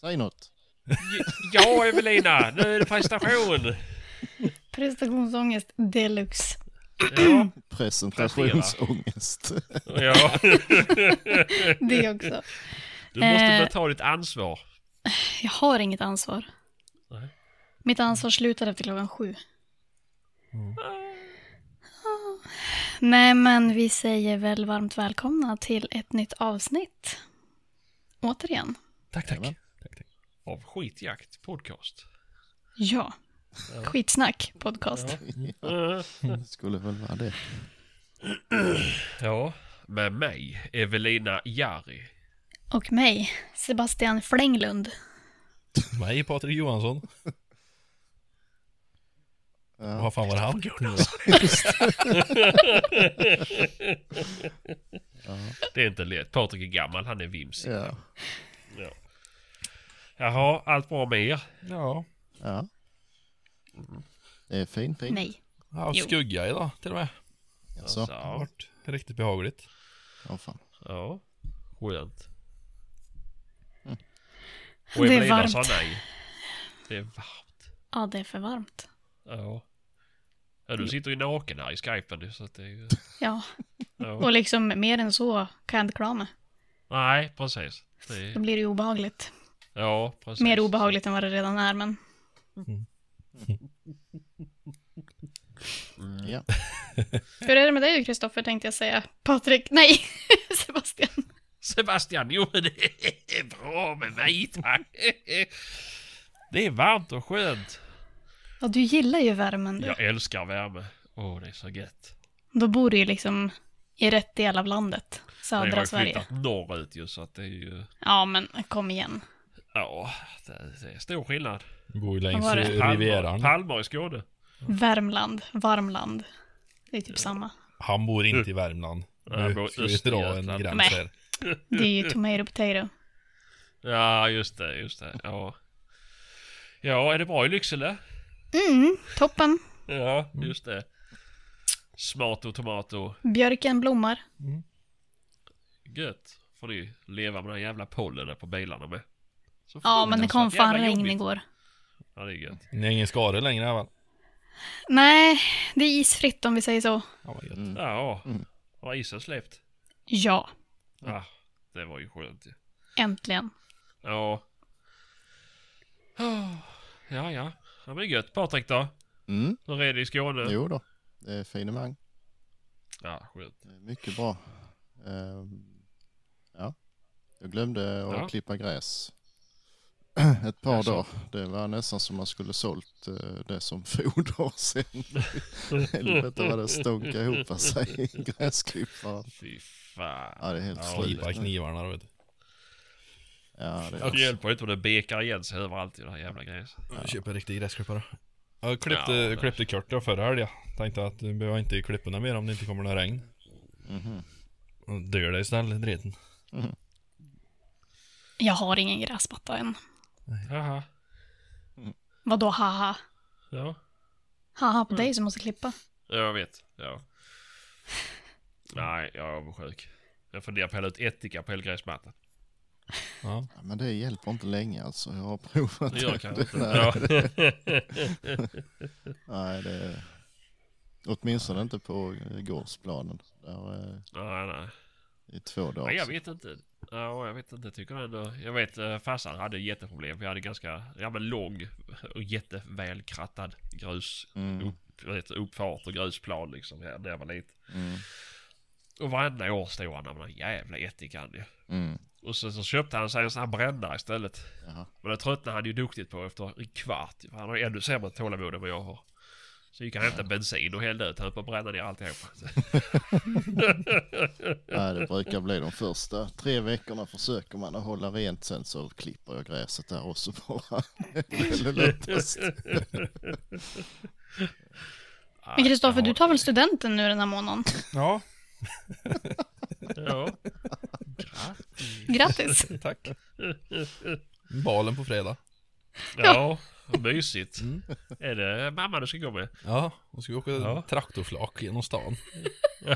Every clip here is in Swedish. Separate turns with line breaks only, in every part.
Säg något.
Ja, Evelina, nu är det prestation.
Prestationsångest deluxe.
Ja,
Presentationsångest.
ja.
Det också.
Du måste
Eh.
börja ta ditt ansvar.
Jag har inget ansvar.
Nej.
Mitt ansvar slutar efter klockan sju. Mm. Ah. Nej, men vi säger väl varmt välkomna till ett nytt avsnitt. Återigen.
Tack, tack.
Jajamän.
tack, tack. Av skitjakt podcast.
Ja. Skitsnack podcast.
Eh,
Det skulle väl vara det.
Ja, med mig, Evelina Jari.
Och mig, Sebastian Flänglund.
Mig, Patrik Johansson.
Ja.
Vad fan var det han?
Det är inte lätt. Patrik är gammal, han är vimsig.
Ja.
Ja. Jaha, allt bra med er?
Ja.
ja. Det är fin, fin.
Nej.
Jag har haft
Jo.
skugga idag till och med.
Alltså.
Det har
Ja.
varit riktigt behagligt.
Ja, fan.
ja. Skönt. Mm. Och
Det är
Evelina sa
varmt.
nej. Det är varmt.
Ja, det är för varmt.
Ja. Ja, du sitter ju naken här i skypen så att det är ju...
Ja,
Ja.
och liksom mer än så kan jag inte klara mig.
Nej, precis. Det
Då
är...
blir det ju obehagligt.
Ja, precis.
Mer obehagligt än vad det redan är, men
Ja.
Hur är det med dig Kristoffer tänkte jag säga. Patrik, nej, Sebastian.
Sebastian, jo men det är bra med mig tack. Det är varmt och skönt.
Ja, du gillar ju värmen du.
Jag älskar värme. Åh, det är så gött.
Då bor du ju liksom i rätt del av landet.
Men jag har
Södra
ju
Sverige.
flyttat norrut ju så att det är ju...
Ja, men kom igen.
Ja, det det är stor skillnad.
Vi Bor ju
Vad
längs
var det?
Palmer,
Rivieran.
Palmer i Skåne.
Värmland, Varmland. Det är typ samma.
Han bor inte i Värmland.
Nej, han Mm. bor
Nu
i
ska vi dra en
Östergötland.
gräns
Nej.
här.
Det är ju
Mm.
tomato potato.
Ja, just det, just det. Ja. Ja, är det bra i Lycksele?
Mm, toppen.
Ja, just det. Smart och tomato.
Björken blommar.
Gött. Får ni leva med den jävla pollenen på bilarna med. Så
Ja,
fan,
men det
alltså,
kom fan
jävla
regn
jobbigt.
igår.
Ja, det är gött.
Ni har ingen skare längre här, va?
Nej, det är isfritt om vi säger så.
Ja, vad gött.
Mm.
Ja, har isen släppt?
Ja,
Ja, det var ju skönt ju.
äntligen.
Ja. Ah, Ja, ja. Ja, men gött. Patrik då?
Mm.
Hur är det i Skåne?
Jo då. Det är finemang.
Ja, skönt.
Det är mycket bra. Ehm, ja. Jag glömde att
Ja.
klippa gräs. Ett par
Jaså?
dagar. Det var nästan som man skulle sålt eh, det som foder sen. Helvete vad det stånkade ihop sig i gräsklipparen.
Fy fan.
Ja, det är helt
Ja,
slut.
Slipa knivarna, du vet.
Ja, det är
Det hjälper ju inte om det bekar igen sig överallt i den här jävla grejen.
Köp en riktig gräsklippare. Jag
Ja,
klippte,
det-
klippte kort jag förra helgen. Tänkte att du behöver inte klippa den mer om det inte kommer några regn.
Mm-hmm.
mm Dör dig snäll, dreten.
Jag har ingen gräsmatta än.
Jaha.
Vadå haha?
Ja.
Haha på dig som måste klippa.
Ja, Jag vet. Ja. Nej, jag är avundsjuk. Jag funderar på att hälla ut ättika på helgräsmattan.
Ja.
Ja, men det hjälper inte länge alltså. Jag har provat
Det gör jag kanske inte.
Nej,
Ja.
nej, det är... Åtminstone inte på eh, gårdsplanen. Där, eh,
nej, nej.
I två dagar.
Nej, jag vet inte. Ja, jag vet inte. Jag tycker ändå... Jag vet eh, farsan hade jätteproblem. Vi hade ganska, ja men lång och jättevälkrattad grus.
Mm.
Upp, vad heter det, uppfart och grusplan liksom. Här, när jag var liten.
Mm.
Och varenda år stod han där med den jävla ättikan ju.
Mm.
Och sen så köpte han sig en sån här brännare istället.
Jaha.
Men det tröttnade han ju duktigt på efter en kvart. Han har ju ännu sämre tålamod än vad jag har. Så gick han och hämtade bensin och hällde ut den på att bränna ner alltihopa.
Nej, det brukar bli de första tre veckorna försöker man att hålla rent. Sen så klipper jag gräset där också bara. det är det lättaste.
Men Kristoffer, du tar väl studenten nu den här månaden?
ja,
Ja. Grattis.
Grattis!
tack. Balen på fredag.
Ja, vad mysigt.
Mm.
Är det mamma du ska gå med?
Ja, då ska vi åka
Ja.
traktorflak genom stan.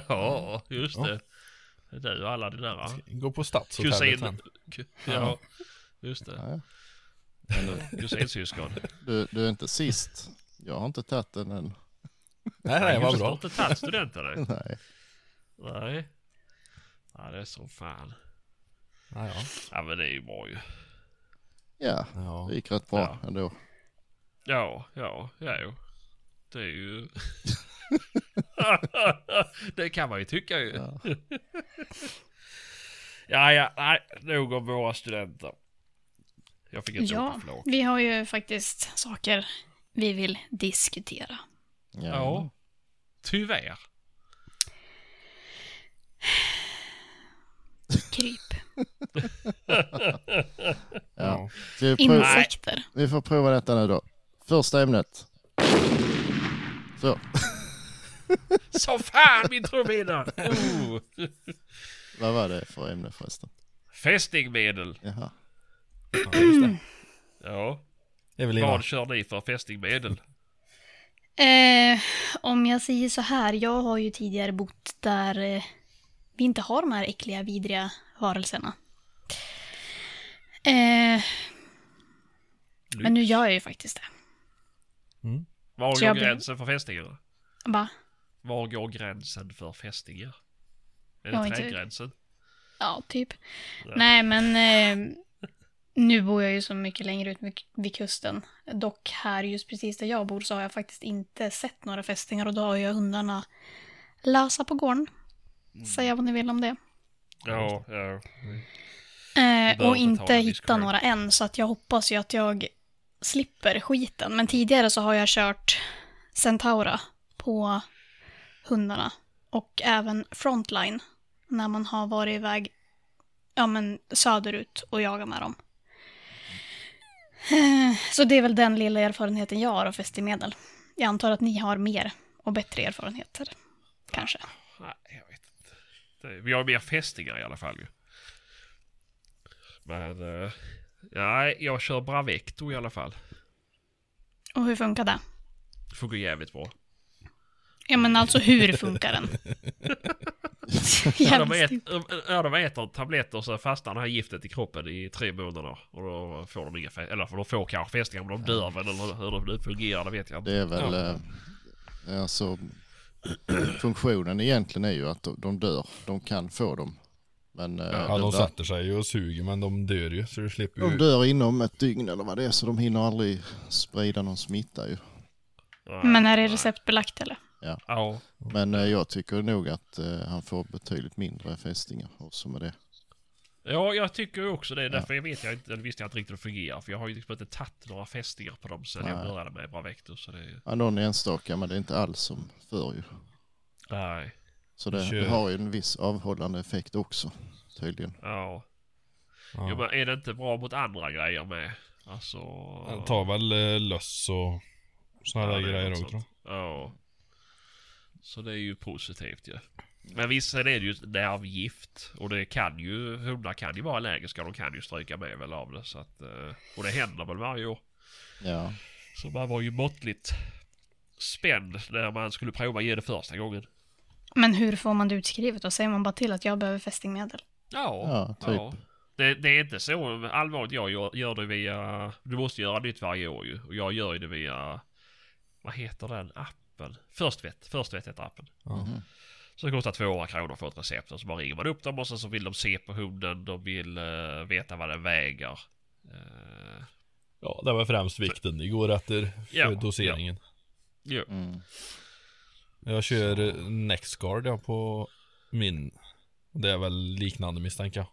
Ja, just
Ja.
det. Du och alla dina.
Gå på stadshotellet
Kusin.
sen.
Ja, just det.
Ja.
Eller kusinsyskon.
Du, du är inte sist. Jag har inte tagit den än.
Nej, nej, vad
Just har
bra.
inte tagit studenten än.
Nej.
Nej. Ja, det är så fan.
Ja, ja.
Ja, men det är ju bra ju.
Ja,
Ja.
det gick rätt bra
Ja.
ändå.
Ja, ja, ja jo. Det är ju... det kan man ju tycka ju.
Ja.
Ja, ja, nej, nog om våra studenter. Jag fick ett
Ja,
återflak.
vi har ju faktiskt saker vi vill diskutera.
Ja. Tyvärr.
Kryp.
ja.
Ja.
Så vi, prov,
Insekter.
vi får prova detta nu då. Första ämnet. Så,
Så fan min trumhinna! Oh.
vad var det för ämne förresten?
Fästingmedel.
Jaha.
Ja, just det.
Ja.
Evelina.
Vad kör ni för fästingmedel?
Eh, om jag säger så här, jag har ju tidigare bott där eh, vi inte har de här äckliga, vidriga varelserna. Eh, men nu gör jag ju faktiskt det.
Var
Så
går
jag blir-
gränsen för fästingar?
Va?
Var går gränsen för fästingar? Är
Jag
det
har inte-
trädgränsen?
Ja, typ.
Ja.
Nej, men eh, nu bor jag ju så mycket längre ut mycket vid kusten. Dock här, just precis där jag bor, så har jag faktiskt inte sett några fästingar och då har ju hundarna lösa på gården. Säga vad ni vill om det.
Ja, ja.
Eh,
behöver
och
inte
inte
ha en
hitta
diskussion.
några än, så att jag hoppas ju att jag slipper skiten. Men tidigare så har jag kört Centaura på hundarna. Och även Frontline, när man har varit iväg ja, men söderut och jagat med dem. Eh, Så det är väl den lilla erfarenheten jag har av fästemedel. Jag antar att ni har mer och bättre erfarenheter. Kanske.
Nej, jag vet inte. Det, vi har mer fästingar i alla fall ju. Men... eh, nej, jag kör Bravecto i alla fall.
Och hur funkar det?
Det funkar jävligt bra.
Ja men alltså hur funkar den?
Ja, de,
Jävligt
ät, ja, de äter tabletter så fastnar det här giftet i kroppen i tre månader. Och då får de inga fästingar. Eller för de får kanske fästingar men de dör väl eller hur det fungerar, det vet jag inte.
Det är väl, eh, alltså, funktionen egentligen är ju att de, de dör. De kan få dem. Men eh,
Ja,
det
de
ver-
sätter sig ju och suger men de dör ju så du slipper
de
ju.
dör inom ett dygn eller vad det är så de hinner aldrig sprida någon smitta ju.
Nej,
Men är det
nej.
receptbelagt eller?
Ja.
Men eh, jag tycker nog att eh, han får betydligt mindre fästingar också med det.
Ja, jag tycker också det. Därför vet jag inte, eller visste jag inte riktigt hur det fungerar. För jag har ju liksom inte tagit några fästingar på dem sedan jag
Nej.
började med Bravecto. Så det är ju...
Ja, någon enstaka men det är inte alls som förr ju.
Nej.
Så det,
Kör.
det har ju en viss avhållande effekt också tydligen.
Ja. Jo,
Ja.
men är det inte bra mot andra grejer med? Alltså...
Jag tar väl eh, löss och sådana där
det är
grejer
något
också. tror
sånt. Ja. Så det är ju positivt ju. Men visst sen är det ju ett nervgift. Och det kan ju, hundar kan ju vara allergiska. De kan ju stryka med väl av det. Så att, eh, och det händer väl varje år.
Ja,
Så man var ju måttligt spänd när man skulle prova ge det första gången.
Men hur får man det utskrivet då? Säger man bara till att jag behöver fästingmedel?
Ja,
Ja, typ.
Det, det är inte så allvarligt. Jag gör, gör det via... Du måste göra nytt varje år ju. Och jag gör ju det via... Vad heter den appen? Förstvet. Förstvet heter appen.
Ja.
Mhm.
Så det kostar 200 kronor för ett recept och så bara ringer man upp dem och sen så vill de se på hunden, de vill eh, veta vad den väger. Eh,
Ja, det var främst vikten. Det går efter
Ja,
för doseringen.
jo.
Mm.
Jag kör eh, Nextguard ja, på min. Det är väl liknande misstänker jag.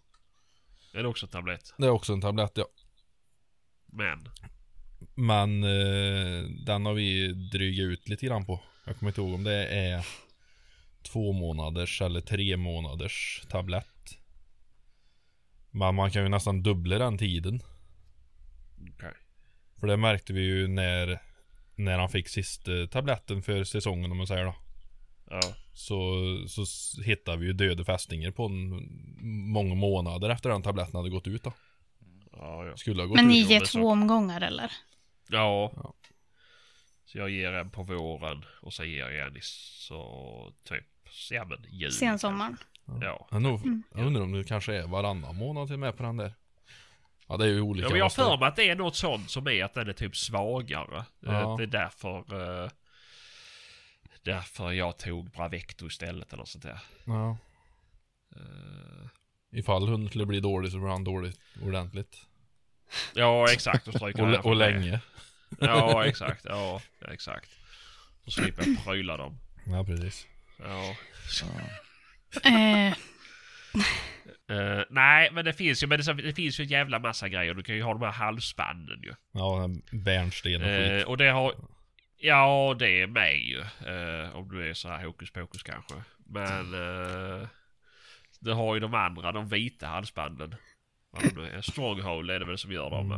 Är det också en tablett?
Det är också en tablett ja.
Men.
Men eh, den har vi drygat ut lite grann på. Jag kommer inte ihåg om det är två månaders eller tre månaders tablett. Men man kan ju nästan dubbla den tiden.
Okej.
För det märkte vi ju när, när han fick sista tabletten för säsongen om man säger då.
Ja.
Så, så s- hittade vi ju döda fästingar på en, många månader efter den tabletten hade gått ut då.
Ja, ja.
Skulle ha gått
Men ni
ut.
ur
ger
det så.
två omgångar eller?
ja.
Ja.
Så jag ger en på våren och sen ger jag en i så typ, ja men jul.
Sensommaren?
Ja.
Jag, nog, jag undrar om det kanske är varannan månad till och med på den där. Ja det är ju olika.
Ja, men jag har
raser.
för mig att det är något sånt som är att den är typ svagare.
Ja.
Eh, Det är därför... eh, Därför jag tog Bravecto istället eller sånt där.
Ja.
Eh,
Ifall hunden skulle bli dålig så blir han dålig ordentligt.
Ja exakt, och stryker
Och,
den
lä-
här från
och
mig.
länge.
Ja exakt, ja exakt. Och slipper jag pryla dem.
Ja precis.
Ja.
Eh,
Eh, nej men det finns ju, men det, det finns ju en jävla massa grejer. Du kan ju ha de här halsbanden ju.
Ja, bärnsten och skit.
Eh, och det har... Ja, det är med ju. Eh, om du är så här hokus pokus kanske. Men... Eh, det har ju de andra, de vita halsbanden. Vad de nu är. Stronghold är det väl som gör dem.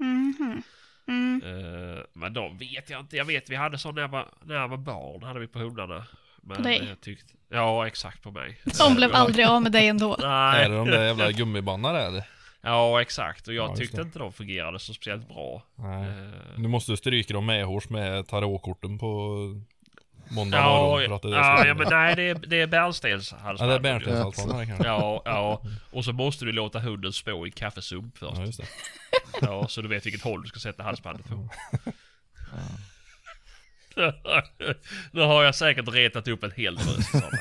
Mm.
mhm. mm.
Eh, men de vet jag inte. Jag vet vi hade sån när jag var, när jag var barn. hade vi på hundarna. Men
På dig?
Jag tyckte, ja, exakt på mig.
Som
Eh,
blev
jag-
aldrig av med dig ändå.
Nej.
Är det de där jävla gummibanden eller?
Ja, exakt. Och jag
Ja, just
tyckte
det.
inte de fungerade så speciellt bra.
Nej.
Eh,
Du måste stryka dem medhårs med tarotkorten på måndag
Ja,
morgon för att det är
ja,
så-
ja men nej det är, det är
Ja, det är
bärnstenshalsband.
bärnstenshalsbandet kanske.
Ja, ja. Och så måste du låta hunden spå i kaffesump
Ja,
först.
just det.
Ja, så du vet vilket håll du ska sätta halsbandet på. Nu har jag säkert retat upp en hel drös sådana.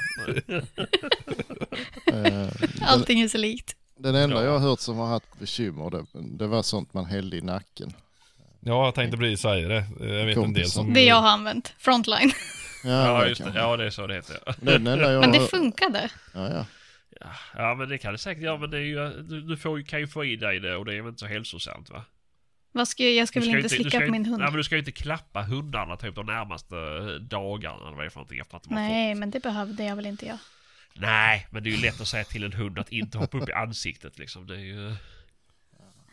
Eh, den,
Allting är så likt.
den enda
Ja.
jag har hört som har haft bekymmer, det, det var sånt man hällde i nacken.
Ja, jag tänkte precis säga det. Jag vet en del
Mm.
som...
Det jag har använt, frontline.
Ja,
Ja,
det
just det.
kanske.
Ja, det är så det heter. ja.
Den enda jag
Men det
har-
funkade.
Ja, ja.
Ja, men det kan det säkert göra. Men det är ju, du, du får, ju- kan ju få i dig det och det är väl inte så hälsosamt va?
Vad ska jag, jag ska
Du
väl
ju
inte
du
slicka
ska ju
på min
inte-
hund?
Nej, men du ska ju inte klappa hundarna typ de närmaste dagarna eller vad det är för någonting efter att de har fått
Nej, men det behövde jag väl inte jag.
Nej, men det är ju lätt att säga till en hund att inte hoppa upp i ansiktet liksom. Det är ju...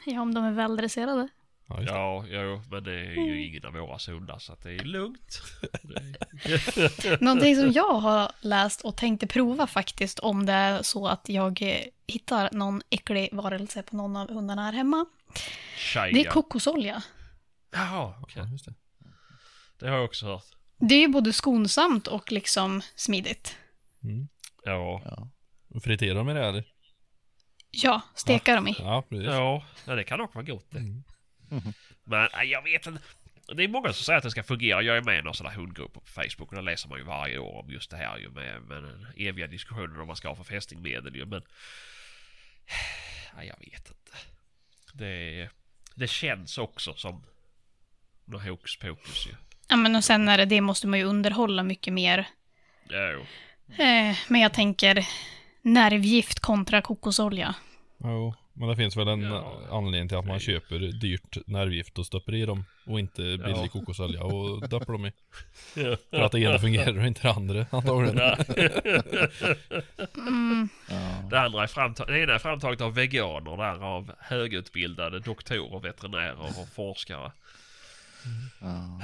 Ja, om de är väldresserade.
Ja, just det.
Ja, jo, men det är
Mm.
ju ingen av våra hundar så att det är lugnt.
Någonting som jag har läst och tänkte prova faktiskt om det är så att jag eh, hittar någon äcklig varelse på någon av hundarna här hemma.
Tjeja.
Det är kokosolja.
Jaha, okej.
Ja, just det.
Det har jag också hört.
Det är ju både skonsamt och liksom smidigt.
Mm.
Ja.
ja.
Friterar de i det eller?
Ja, steka dem i.
Ja, precis.
Ja, ja, det kan dock vara gott det.
Mm.
Men nej, jag vet inte. Det är många som säger att det ska fungera. Jag är med i några sådana hundgrupper på Facebook och där läser man ju varje år om just det här ju med, med den eviga diskussionen om man ska ha för fästingmedel ju. Men... Nej, jag vet inte. Det, det känns också som något hokus pokus ju.
Ja, men och sen är det, det måste man ju underhålla mycket mer.
Ja, jo.
Eh, men jag tänker nervgift kontra kokosolja.
Jo, men det finns väl en
Ja.
anledning till att man
Nej.
köper dyrt nervgift och stoppar i dem och inte billig
Ja.
kokosolja och doppar dem i. För att det ena fungerar och inte det andra antagligen.
Mm,
ja.
Det, andra är framtag- det ena är framtaget av veganer, det andra av högutbildade doktorer, veterinärer och forskare.
ja.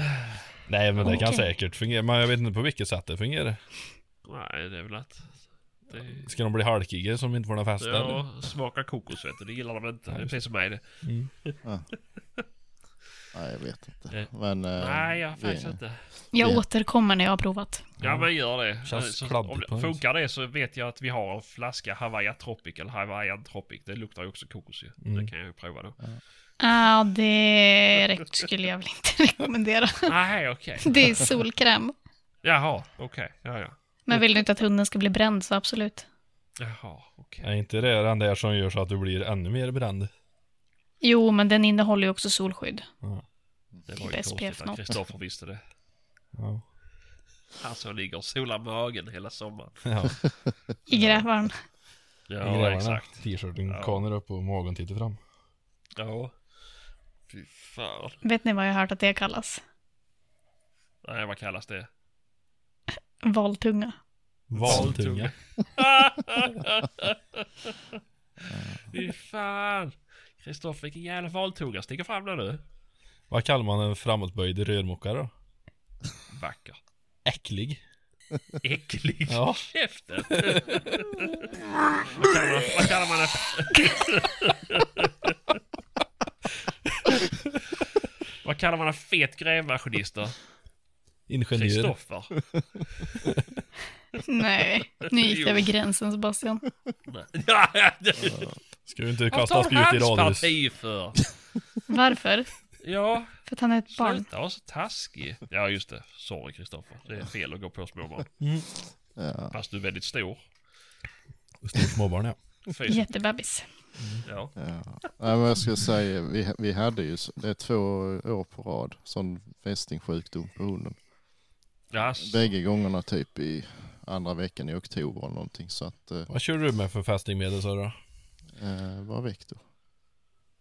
Nej men det kan
Okej.
säkert fungera, men jag vet inte på vilket sätt det fungerar.
Nej, det är väl att... Det...
Ska de bli halkiga som inte får någon fäste? eller?
Ja, smaka kokos vet du, det gillar de inte. Det är
just
precis som mig det.
Mm.
Nej, jag vet inte.
Eh,
Men, eh,
Nej, jag har
vi-
faktiskt inte.
jag
Ja.
återkommer när jag har provat.
Ja, men gör det.
Känns
Så-
kladdigt
om
på
det
något
funkar det så vet jag att vi har en flaska Hawaii Tropic eller Hawaiian Tropic. Det luktar ju också kokos ju.
Mm.
Det kan jag ju prova då.
Ja, det rekt- skulle jag väl inte rekommendera.
Nej, okej.
Det är solkräm.
Jaha, okej. Ja, ja.
Men vill du inte att hunden ska bli bränd så absolut.
Jaha, okej.
Är inte det den där som gör så att du blir ännu mer bränd?
Jo, men den innehåller ju också solskydd.
Det var ju
SPF
konstigt att
något.
Kristoffer visste det.
Ja.
Han som ligger och solar magen hela sommaren.
ja.
I grävaren.
I
Ja,
grävarna.
exakt.
T-shirten
Ja.
kanar upp och magen tittar fram.
Ja. Fy fan.
Vet ni vad jag har hört att det kallas?
Nej, vad kallas det?
Valtunga.
Valtunga.
Fy fan! Kristoffer, vilken jävla valtunga sticker fram där nu.
Vad kallar man en framåtböjd rörmokare då?
Vacker.
Äcklig.
Äcklig.
Ja.
Käften! vad, kallar man, vad kallar man en... vad kallar man en fet grävmaskinist då?
Ingenjör.
Kristoffer?
Nej, nu gick det över gränsen Sebastian.
Nej. Ja, ja, det-
Ska vi inte
Vad
kasta
tar du
spjut i
hans
radhus?
parti för?
Varför?
Ja,
För att han är ett barn.
sluta vara så taskig. Ja, just det. Sorry Kristoffer. Det är fel att gå på småbarn.
Ja,
Fast du är väldigt stor.
Stort småbarn ja.
Fysiskt.
Jättebebis.
Ja.
ja. Nej, men jag skulle säga, vi, vi hade ju, så- det är två år på rad, sån fästingsjukdom på hunden.
Jaså.
Bägge gångerna typ i andra veckan i oktober eller någonting. Så att, eh,
Vad körde du med för fästingmedel sa du då?
eh, var Victor.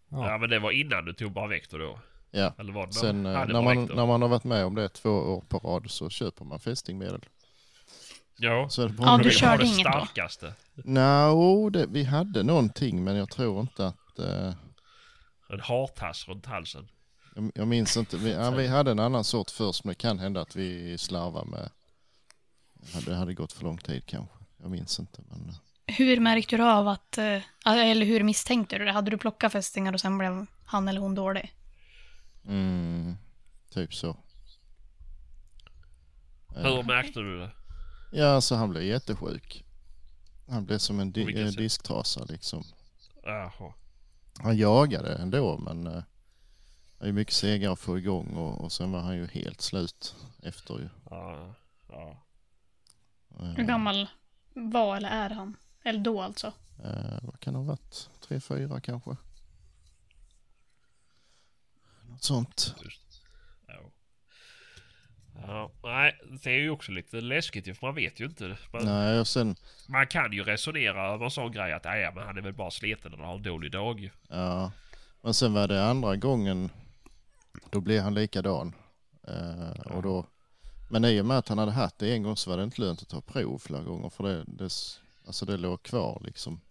Ja men det var innan du tog bara Vector då?
Ja,
Eller var det
sen eh,
hade
när,
bara
man,
Vector?
när man har varit med om det två år på rad så köper man fästingmedel.
Ja.
Så är det
Ja,
bara
du
Det var
körde
det
inget då?
starkaste.
Nå, det, vi hade någonting men jag tror inte att... Eh,
En hartass runt halsen.
jag, jag minns inte. Vi, ja, vi hade en annan sort först men det kan hända att vi slarvar med... ja, Det hade gått för lång tid kanske. Jag minns inte. Men, eh,
Hur märkte du av att, eh, eller hur misstänkte du det? Hade du plockat fästingar och sen blev han eller hon dålig?
mm, typ så. Eh,
Hur märkte du det?
Ja, så han blev jättesjuk. Han blev som en
På
di-
vilket
eh,
sätt?
disktrasa liksom.
Jaha.
Han jagade ändå men eh, det är mycket segare att få igång och, och sen var han ju helt slut efter ju.
Ja. ja.
Eh,
Hur gammal var eller är han? Eller då alltså?
Eh, vad kan det ha varit? Tre, fyra kanske? Något sånt.
ja. Ja, nej, det är ju också lite läskigt ju, för man vet ju inte. Man,
Nej, och sen...
man kan ju resonera över en sån grej att "Ah, ja, men han är väl bara sliten eller har en dålig dag. ju."
Ja. Men sen var det andra gången, då blev han likadan. Eh, och då, men i och med att han hade haft det en gång så var det inte lönt att ta prov flera gånger för det, det, s- alltså det låg kvar liksom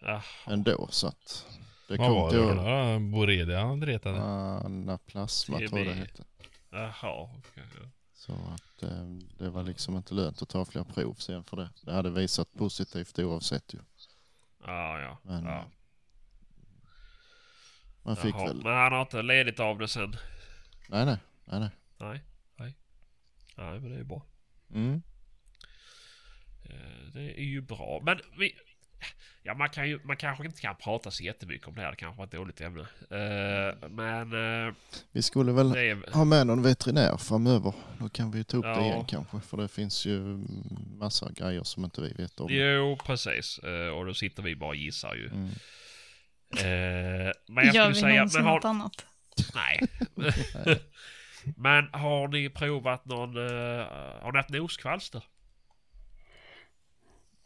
Ja.
ändå så att det
Vad
kom
var det?
till
för några Borrelia han retade?
anaplasma tror jag det
TB.
hette.
Jaha, okej. ja.
Så att eh, det var liksom inte lönt att ta fler prov sen för det. Det hade visat positivt oavsett ju.
Ja, ja.
Men,
ja.
eh, Man fick
Jaha,
väl...
Men han har inte ledigt av det sen.
Nej, nej. nej, nej.
Nej, nej. Nej, men det är bra.
Mm.
Eh, Det är ju bra. Men vi... Ja, man, kan ju, man kanske inte kan prata så jättemycket om det här. Det kanske var ett dåligt ämne. Eh, men eh,
Vi skulle väl
det är...
ha med någon veterinär framöver. Då kan vi ju ta upp det
Ja.
igen kanske. För det finns ju mm, massa grejer som inte vi vet om.
Jo, precis. Eh, och då sitter vi bara och gissar ju.
Mm.
Eh, men jag
Gör
skulle
vi
säga...
någonsin
Men har,
något annat?
nej. men har ni provat någon... eh, har ni haft noskvalster?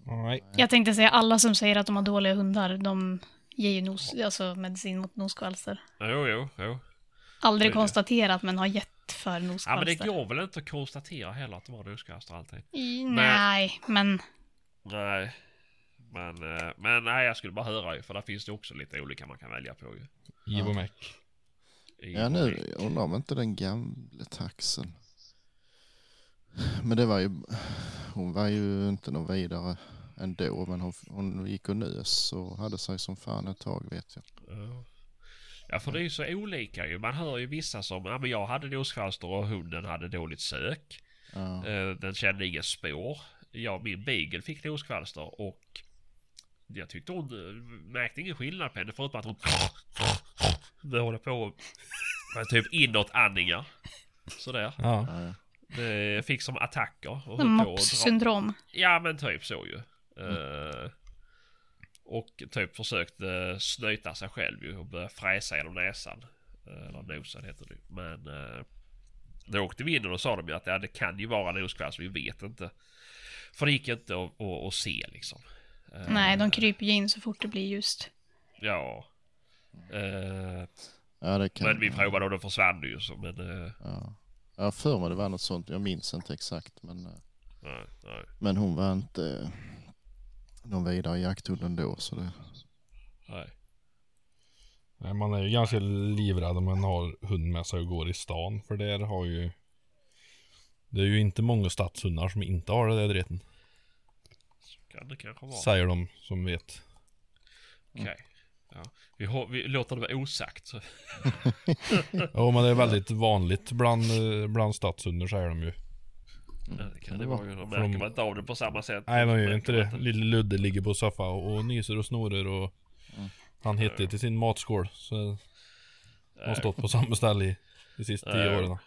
Nej.
Jag tänkte säga alla som säger att de har dåliga hundar, de ger ju nos, alltså medicin mot noskvalster.
Jo, jo, jo.
Aldrig
Oj, ja.
konstaterat men har gett för
Ja, men det
noskvalster.
går väl inte att konstatera heller att det var noskvalster alltid.
I- Nej, men
Nej. Men, eh, men nej, jag skulle bara höra ju, för där finns det också lite olika man kan välja på ju.
Ivo Mac.
I-
Ja, nu jag undrar om inte den gamle taxen. Men det var ju... Hon var ju inte någon vidare ändå. Men hon, hon gick och nös och hade sig som fan ett tag vet jag.
Ja. Ja, för det är ju så olika ju. Man hör ju vissa som, ja men jag hade noskvalster och hunden hade dåligt sök.
Ja.
Eh, Den kände inga spår. Jag, min beagle fick noskvalster och jag tyckte hon eh, märkte ingen skillnad på henne förutom att hon det håller på med typ inåtandningar. Sådär.
Ja.
Ja, ja.
Det Eh, fick som attacker. Och höll
Mm,
på att dra-
mops-syndrom.
Ja men typ så ju.
Mm.
Eh, och typ försökte eh, snyta sig själv ju och börja fräsa genom näsan. Eh, eller nosen heter det ju. Men eh, då åkte vi in och då sa de ju att ja, det kan ju vara noskvalster, vi vet inte. För det gick inte att, att, att se liksom. Eh,
Nej, de kryper ju in så fort det blir ljust.
Ja. Eh,
ja, det kan
men vi provade och de försvann ju så men... eh,
Ja. Jag har för mig det var något sånt, jag minns inte exakt. Men, eh,
nej, nej.
men hon var inte eh, någon vidare jakthund ändå. Så det,
nej.
Nej, man är ju ganska livrädd om man har hund med sig och går i stan. För där har ju... Det är ju inte många stadshundar som inte har det där dreten.
Kan det kanske vara.
Säger de som vet.
Okej. Ja. Vi, har, vi låter det vara osagt. Så.
Ja men det är väldigt vanligt bland, eh, bland stadshundar säger de ju.
Ja, det kan
Kan
det
det
vara ju. Då
Mm. Från-
märker man inte av det på samma sätt.
Nej de gör
Märker
inte
man Mm.
det. Lille Ludde ligger på soffan och, och nyser och snorar och Han hette till sin matskål. Så de har stått på samma ställe i de sista tio
Eh,
åren.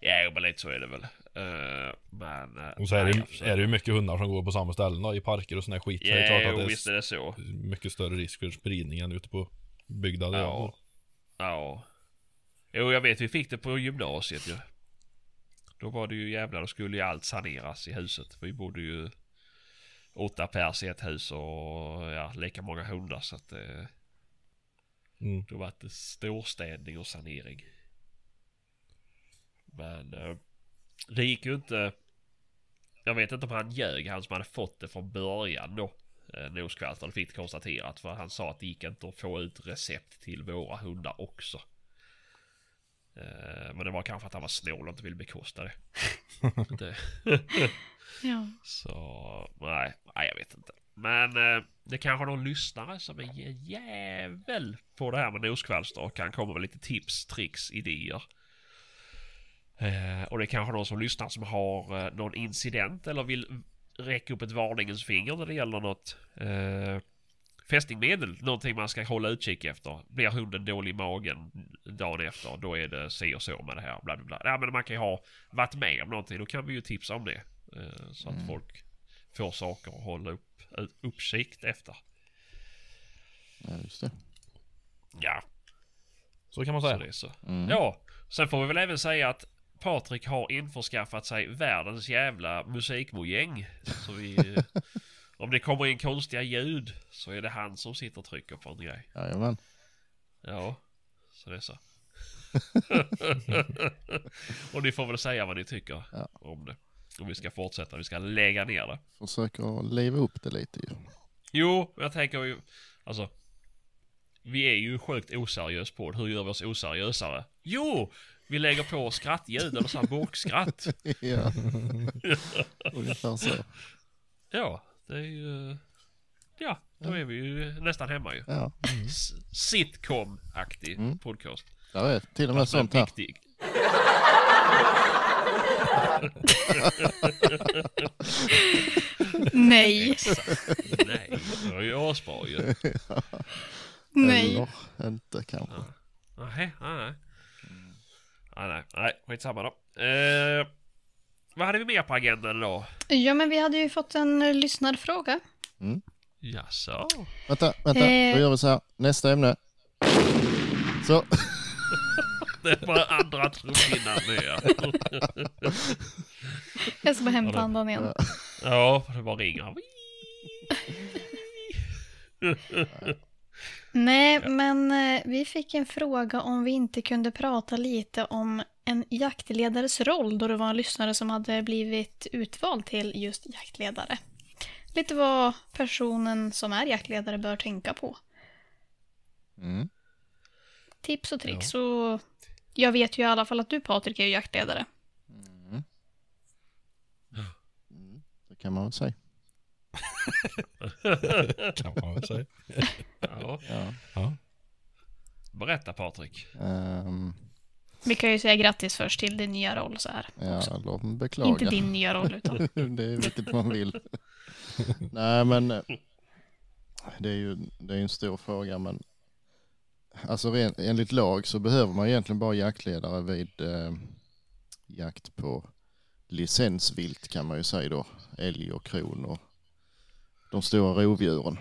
Ja, men lite så är det väl. Eh, men... eh,
Och så är det,
nej,
ju-
alltså.
är det ju mycket hundar som går på samma ställen då, i parker och sån här skit. Så det är
Ja,
klart
jo,
att det
visst är
är
det så.
mycket större risk för spridning än ute på byggda där jag
Ja.
bor.
Ja. Jo, jag vet vi fick det på gymnasiet ju. Då var det ju jävlar, då skulle ju allt saneras i huset. Vi bodde ju åtta pers i ett hus och ja, lika många hundar så att eh,
Mm.
då var det storstädning och sanering. Men eh, det gick ju inte. Jag vet inte om han ljög, han som hade fått det från början då. Eh, Noskvaltern fick det konstaterat för han sa att det gick inte att få ut recept till våra hundar också. Eh, men det var kanske att han var snål och inte ville bekosta det. det.
Ja.
Så nej, nej jag vet inte. Men eh, det kanske är någon lyssnare som är jä- jävel på det här med noskvalster och kan komma med lite tips, tricks, idéer. Eh, och det är kanske någon som lyssnar som har eh, någon incident eller vill räcka upp ett varningens finger när det gäller något eh, fästingmedel, någonting man ska hålla utkik efter. Blir hunden dålig i magen dagen efter, då är det si och så med det här. Bla, bla, bla. Ja, men man kan ju ha varit med om någonting, då kan vi ju tipsa om det. Eh, så att folk får saker att hålla upp, eh, uppsikt efter.
Ja, just det.
Ja,
Så kan man
så
säga.
det är så.
Mm.
Ja, sen får vi väl även säga att Patrik har införskaffat sig världens jävla musikmojäng. Så vi... eh, om det kommer in konstiga ljud så är det han som sitter och trycker på en grej.
Jajamän.
Ja, så det är så. och ni får väl säga vad ni tycker
Ja.
om det. Om vi ska fortsätta, vi ska lägga ner det.
Försöker leva upp det lite ju.
Jo, jag tänker ju, alltså. Vi är ju sjukt oseriös på det. Hur gör vi oss oseriösare? Jo! Vi lägger på skrattljud eller så här bokskratt.
ja. Ungefär så.
Ja, det är ju... Ja, då är vi ju nästan hemma ju.
Ja.
S- Sitcom-aktig podcast.
Där är till och med Mm. sånt här.
Viktig.
Nej,
Nej, det var ju asbra ju.
nej.
Eller inte kanske.
Nej, nej, nej. Mm. Nej, nej, nej, skitsamma då. Eh, vad hade vi mer på agendan idag?
Ja, men vi hade ju fått en eh, lyssnarfråga.
Jaså?
Vänta, vänta.
Eh.
Då gör vi så här. Nästa ämne. Så.
Det var andra trumhinnan med.
Jag ska bara hämta andan igen.
Ja, det bara ringer.
Nej, men eh, vi fick en fråga om vi inte kunde prata lite om en jaktledares roll då det var en lyssnare som hade blivit utvald till just jaktledare. Lite vad personen som är jaktledare bör tänka på.
Mm.
Tips och tricks och jag vet ju i alla fall att du Patrik är ju jaktledare.
Mm. Det kan man väl säga.
Kan man väl säga.
Ja.
Ja.
Ja.
Berätta Patrik.
Ehm,
Vi kan ju säga grattis först till din nya roll så här.
ja, eller
Inte
beklaga.
din nya roll utan
det är vilket man vill. Nej, men eh, det är ju det är en stor fråga. Men alltså ren, enligt lag så behöver man egentligen bara jaktledare vid eh, jakt på licensvilt kan man ju säga då. Älg och kron och de stora rovdjuren.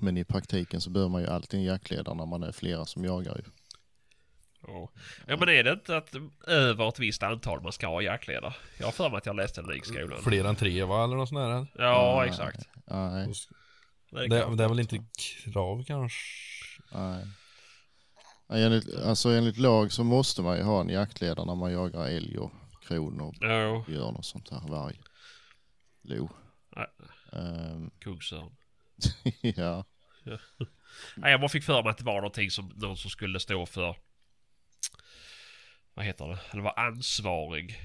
Men i praktiken så behöver man ju alltid en jaktledare när man är flera som jagar ju.
Ja. ja men är det inte att över ett visst antal man ska ha jaktledare? Jag har för mig att jag läste det i skolan.
Fler än tre va, eller något sånt där.
Ja exakt.
Nej,
Det är klart.
Det, det är väl inte krav kanske?
Nej. Nej, Enligt, alltså enligt lag så måste man ju ha en jaktledare när man jagar älg och kron och
Ja,
björn och sånt här. Varg. Lo.
Nej.
Ehm,
kungsörn.
ja.
Nej, jag bara fick för mig att det var någonting som någon som skulle stå för. Vad heter det? Eller var ansvarig.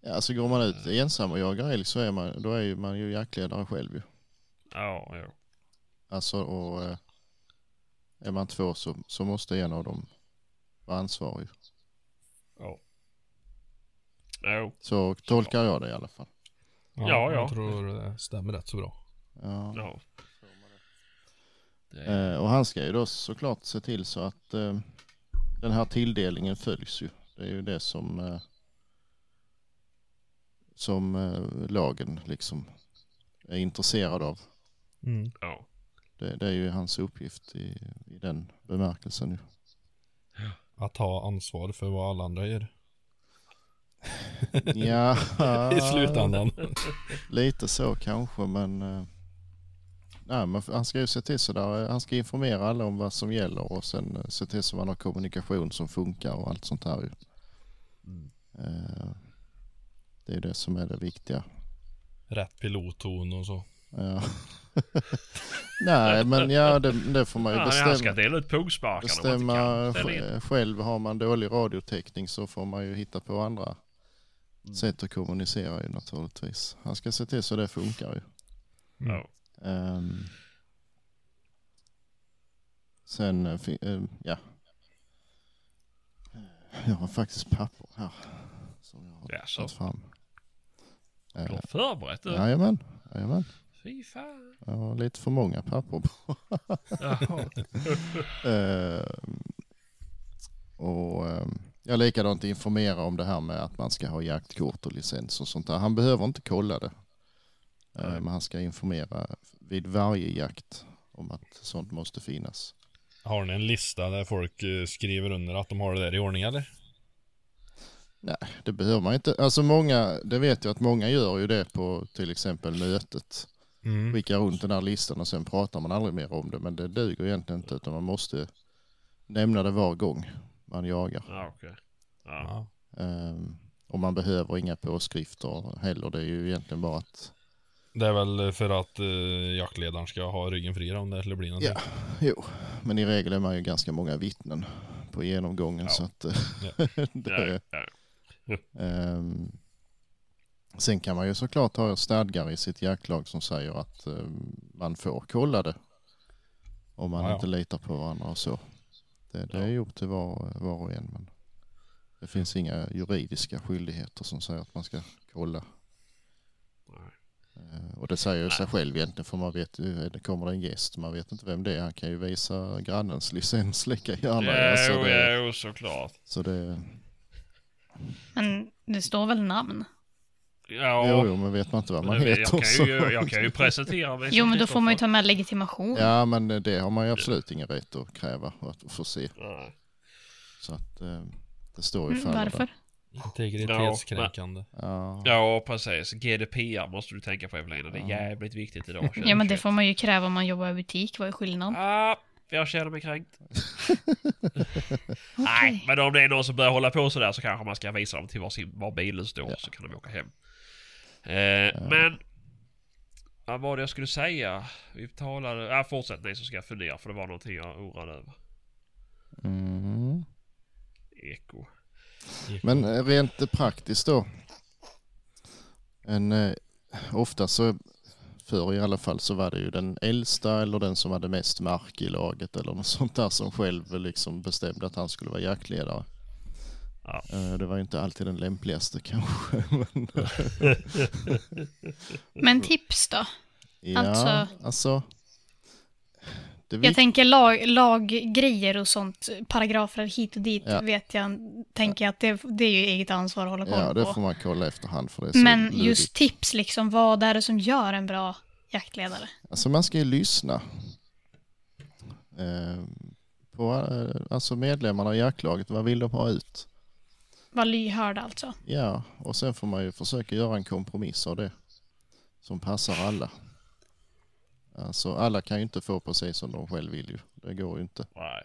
ja, alltså går man ut ensam och jagar älg så är man, då är ju, man ju jaktledare själv ju.
Ja, ja.
Alltså och eh, är man två så, så måste en av dem vara ansvarig.
Ja. Ja.
Så tolkar jag det i alla fall.
Ja, ja.
Jag tror det stämmer rätt så bra.
Ja.
ja. Det är,
Eh, och han ska ju då såklart se till så att eh, den här tilldelningen följs ju. Det är ju det som, eh, som eh, lagen liksom är intresserad av.
Mm.
ja.
Det, det är ju hans uppgift i, i den bemärkelsen. Ju.
Att ta ansvar för vad alla andra gör
Ja, Ah.
i slutändan.
lite så kanske men, eh, nej, men han ska ju se till så där, eh, han ska informera alla om vad som gäller och sen eh, se till så man har kommunikation som funkar och allt sånt här. ju.
Mm.
Eh, Det är ju det som är det viktiga.
Rätt pilotton och så.
Ja. Nej, men ja, det, det får man ju
Ja, han ska
bestämma,
dela ut pungsparkar om
bestämma
man inte kan. Ställ in.
sj- själv. Har man dålig radiotäckning så får man ju hitta på andra
Mm.
sätt att kommunicera ju naturligtvis. Han ska se till så det funkar ju.
Ja.
Ehm. sen, eh, fi- eh, ja. Jag har faktiskt papper här. Som jag har
Jaså?
tagit fram. Eh,
Du har förberett du.
Jajamän, jajamän.
Fy fan.
Jag har lite för många papper bara.
Jaha.
Ehm, och ehm, jag likadant informera om det här med att man ska ha jaktkort och licens och sånt där. Han behöver inte kolla det. Ehm, Men han ska informera vid varje jakt om att sånt måste finnas.
Har ni en lista där folk eh, skriver under att de har det där i ordning eller?
Nej, det behöver man inte. Alltså många, det vet jag att många gör ju det på till exempel mötet.
Mm.
Skickar runt den här listan och sen pratar man aldrig mer om det. Men det duger egentligen inte utan man måste nämna det var gång man jagar.
Ja, okej. Ja.
Ja.
Ehm, och man behöver inga påskrifter heller. Det är ju egentligen bara att...
Det är väl för att eh, jaktledaren ska ha ryggen fri om det skulle bli någonting.
Ja. Jo, men i regel är man ju ganska många vittnen på genomgången
Ja.
så att... eh, det,
Ja, ja.
Ehm, sen kan man ju såklart ha stadgar i sitt jaktlag som säger att ehm, man får kolla det. Om man
Ja, ja.
inte litar på varandra och så. Det, det är ju upp till var, var och en. Men det finns inga juridiska skyldigheter som säger att man ska kolla. Ehm, Och det säger ju sig själv egentligen för man vet ju, det kommer det en gäst, man vet inte vem det är. Han kan ju visa grannens licens lika gärna. Alltså
Jo,
det,
jo, såklart.
så det,
Men det står väl namn?
Ja,
jo, jo, men vet man inte vad man
men jag,
heter så-
kan ju, jag kan ju presentera mig.
Jo,
som
men då får man ju
tittar
ta med legitimation.
Ja, men det har man ju absolut ingen rätt att kräva och att få se.
på- Nej.
Så att eh, det står ju
Mm,
fan
varför?
Integritetskränkande.
Ja,
Ja, precis. GDPR måste du tänka på Evelina. Det är jävligt viktigt idag.
Ja, men det får man ju kräva om man jobbar i butik. Vad är skillnaden?
Ah, jag känner mig kränkt. Nej, men om det är någon som börjar hålla på sådär så kanske man ska visa dem till var, sin, var bilen står så kan de åka hem. Eh, Men... Vad var det jag skulle säga? Vi talade... Ja, fortsätt ni så ska jag fundera för det var någonting jag orade över.
Mm.
Eko.
Men eh, rent praktiskt då. En, eh, ofta så, förr i alla fall, så var det ju den äldsta eller den som hade mest mark i laget eller något sånt där som själv liksom bestämde att han skulle vara jaktledare.
Ja.
Eh, Det var ju inte alltid den lämpligaste kanske. Men,
Men tips då?
ja,
Alltså-
alltså det
Jag tänker lag, laggrejer och sånt, paragrafer hit och dit,
Ja.
vet jag, tänker jag att det, det är ju eget ansvar att hålla koll
Ja, det
på.
får man kolla efterhand för det är så
Men
luddigt.
just tips, liksom, vad är det som gör en bra jaktledare?
Alltså man ska ju lyssna. Eh, på, eh, alltså medlemmarna i jaktlaget, vad vill de ha ut?
Var lyhörd alltså.
Ja, och sen får man ju försöka göra en kompromiss av det. Som passar alla. Alltså alla kan ju inte få precis som de själv vill ju. Det går ju inte.
Nej.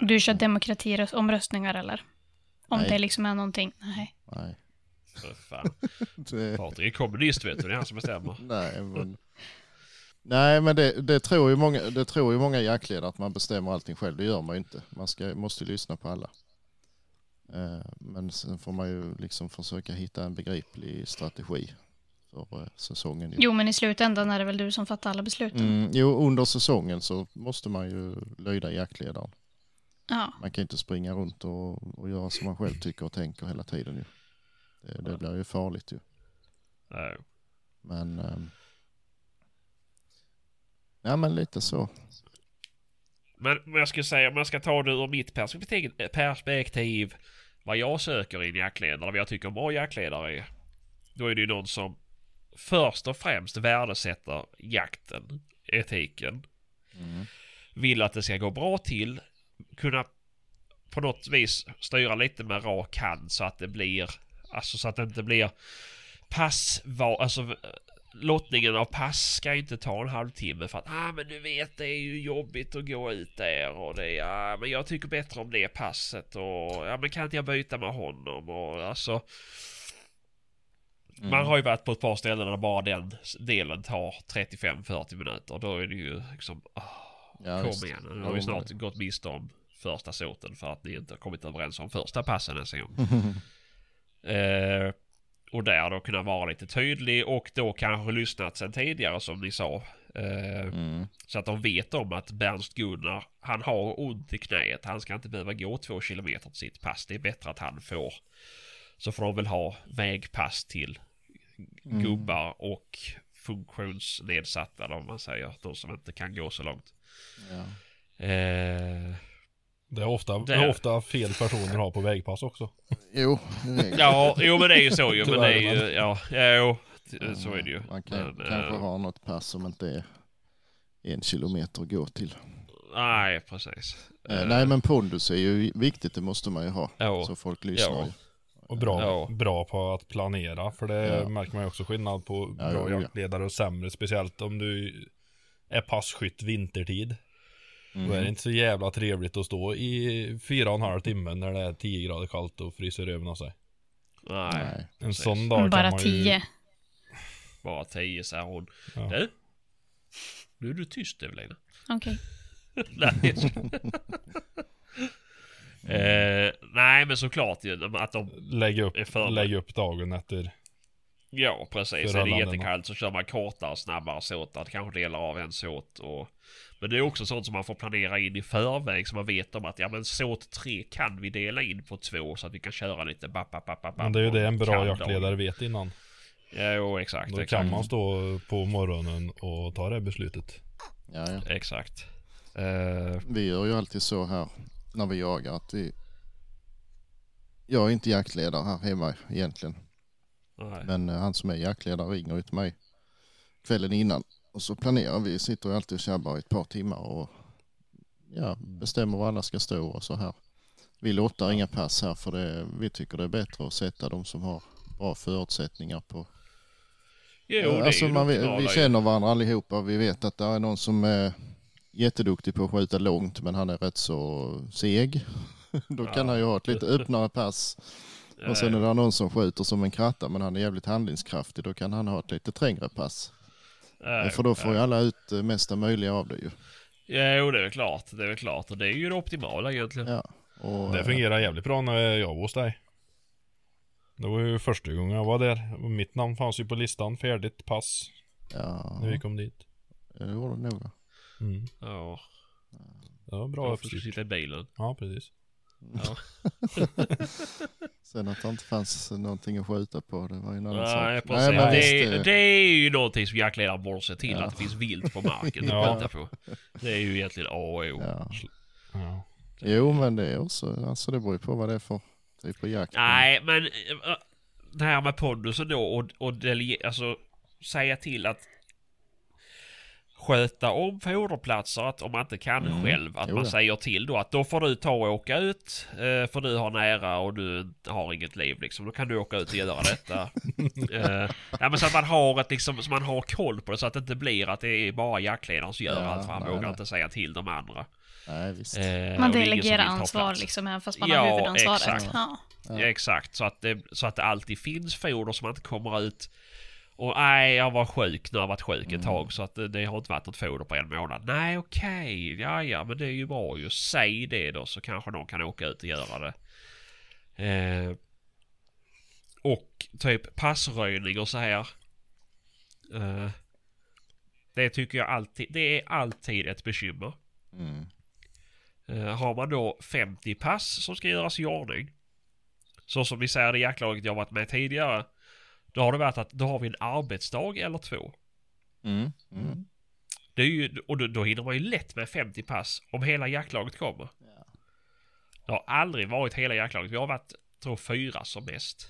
Du kör demokratiomröstningar eller? Om
Nej.
det liksom är någonting? Nej.
Nej.
för Fan.
Det,
Patrik är kommunist vet du. Det är han som bestämmer.
nej, men, nej, men det, det, tror ju många, det tror ju många jaktledare att man bestämmer allting själv. Det gör man ju inte. Man ska, måste ju lyssna på alla. Eh, Men sen får man ju liksom försöka hitta en begriplig strategi för eh, säsongen. ju.
Jo, men i slutändan är det väl du som fattar alla besluten?
Mm, jo, under säsongen så måste man ju lyda jaktledaren.
Ja.
Man kan inte springa runt och, och göra som man själv tycker och tänker hela tiden. Ju. Det, det blir ju farligt ju.
Nej.
Men, ehm, ja, men lite så.
Men men jag skulle säga, om jag ska ta det ur mitt perspektiv, perspektiv vad jag söker i en jaktledare, vad jag tycker en bra jaktledare är. Då är det ju någon som först och främst värdesätter jakten, etiken.
Mm.
Vill att det ska gå bra till, kunna på något vis styra lite med rak hand så att det blir, alltså så att det inte blir pass, va, alltså lottningen av pass ska ju inte ta en halvtimme för att ah men du vet det är ju jobbigt att gå ut där och det ja men jag tycker bättre om det passet och ja men kan inte jag byta med honom och alltså
Mm.
man har ju varit på ett par ställen där bara den delen tar 35-40 minuter då är det ju liksom ah,
Ja, visst.
kom igen nu
Ja,
har vi
men-
snart gått miste om första såten för att ni inte har kommit överens om första passen ens en gång. Eh, och där då kunna vara lite tydlig och då kanske lyssnat sen tidigare som ni sa. Eh,
Mm.
så att de vet om att Bernst Gunnar, han har ont i knäet. Han ska inte behöva gå två kilometer till sitt pass. Det är bättre att han får. Så får de väl ha vägpass till Mm.
Mm.
gubbar och funktionsnedsatta om man säger. De som inte kan gå så långt.
Ja.
Eh,
Det är ofta,
Det
det
är
är
det.
ofta fel personer har på vägpass också.
Jo, det är-
ja, jo men det är ju så ju. Men det är
Tyvärr,
ju, ja, jo, t- så är det ju.
Man kan,
Men, eh,
kanske har något pass som inte är en kilometer att gå till.
Nej, precis.
Eh, Nej men pondus är ju viktigt, det måste man ju ha.
Ja.
Så folk lyssnar.
Ja.
ju.
Och bra,
Ja.
bra på att planera. För det
Ja.
märker man ju också skillnad på
Ja,
bra
jo, ja.
jaktledare och sämre. Speciellt om du är passkytt vintertid. Då är
Mhm.
det inte så jävla trevligt att stå i fyra och en halv timme när det är 10 grader kallt och fryser öven av sig.
Nej.
Mm. Nej.
En
Precis.
sån dag
Mm, Bara
kan man ju...
tio.
Bara 10 säger hon.
Ja.
Du? Nu är du tyst Evelina.
Okej.
nej, jag skojar. eh, nej men såklart ju de- att de...
Lägg upp,
är för-
lägg upp dagen efter.
Ja precis.
För
Är det
alla andra.
jättekallt så kör man kortare, snabbare såtar. Kanske delar av en såt och... Men det är också sånt som man får planera in i förväg så man vet om att ja men såt 3 kan vi dela in på två så att vi kan köra lite bapp, bapp, bapp, bapp,
Men det är ju
och
det en bra
kan
jaktledare vet innan.
dem. Ja, jo exakt.
Då
exakt.
kan man stå på morgonen och ta det här beslutet.
Ja, ja.
Exakt. Eh,
Vi gör ju alltid så här när vi jagar att vi... Jag är inte jaktledare här hemma egentligen.
nej.
Men eh, han som är jaktledare ringer ju till mig kvällen innan. Och så planerar vi, sitter ju alltid och tjabbar i ett par timmar och ja, bestämmer var alla ska stå och så här. Vi låter inga pass här för det, vi tycker det är bättre att sätta de som har bra förutsättningar på.
Jo, det är
alltså
ju
man,
det
vi,
optimala
vi
ju.
känner varandra allihopa, vi vet att det är någon som är jätteduktig på att skjuta långt men han är rätt så seg. Då kan
Ja.
han ju ha ett lite öppnare pass. Och sen är det någon som skjuter som en kratta men han är jävligt handlingskraftig. Då kan han ha ett lite trängre pass. Eh,
Nej,
För då får ju alla ut eh, mesta möjliga av det ju.
Ja, jo, det är väl klart. Det är väl klart. Och det är ju det optimala egentligen.
Ja. Och,
Det
eh,
fungerar jävligt bra när jag var hos dig. Det var ju första gången jag var där. Och mitt namn fanns ju på listan, färdigt pass,
Ja,
när vi kom dit.
det gjorde det nog. va?
Mm.
Ja.
Det var bra
Varför ska du
uppstyrt.
sitta i bilen?
Ja, precis.
Ja.
Sen att det inte fanns någonting att skjuta på, det var ju en annan
Nej,
sak.
precis.
men
det, är,
visst,
det
eh,
är ju någonting som jaktledaren borde se till.
Ja.
Att det finns vilt på marken
Ja.
att skjuta på. Det är ju egentligen A och O.
Ja.
Ja.
Jo, men det är också, alltså det beror ju på vad det är för typ av jakt.
Nej, men eh, det här med pondusen då och, och delege, alltså säga till att sköta om foderplatser, att om man inte kan
Mm.
själv, att
Jo
man
då.
säger till då att då får du ta och åka ut, eh, för du har nära och du har inget liv liksom. Då kan du åka ut och göra detta. Eh, ja, men så att man har ett liksom, så man har koll på det så att det inte blir att det är bara jaktledaren som gör
Ja,
allt, för han
nej,
vågar
nej.
inte säga till de andra.
Nej, visst.
Eh,
Man
och det är ingen som
delegerar
vill ta
ansvar
plats.
liksom även fast man har
Ja,
huvudansvaret.
exakt.
Ja.
Ja.
Ja. Exakt, så att, det, så att det alltid finns foder som inte kommer ut. Och nej, jag var sjuk, nu har jag varit sjuk ett tag så att det, det har inte varit något foder på en månad. Nej, okej, ja, ja, men det är ju bra ju. Säg det då så kanske någon kan åka ut och göra det. Eh, och typ passröjning och så här. Eh, det tycker jag alltid, det är alltid ett bekymmer.
Mm.
Eh, har man då 50 pass som ska göras i ordning. Så som vi säger i jaktlaget jag varit med tidigare. Då har det varit att då har vi en arbetsdag eller två.
Mm. Mm.
Det är ju, och då, då hinner man ju lätt med 50 pass om hela jaktlaget kommer.
Ja.
Det har aldrig varit hela jaktlaget. Vi har varit, tror fyra som mest.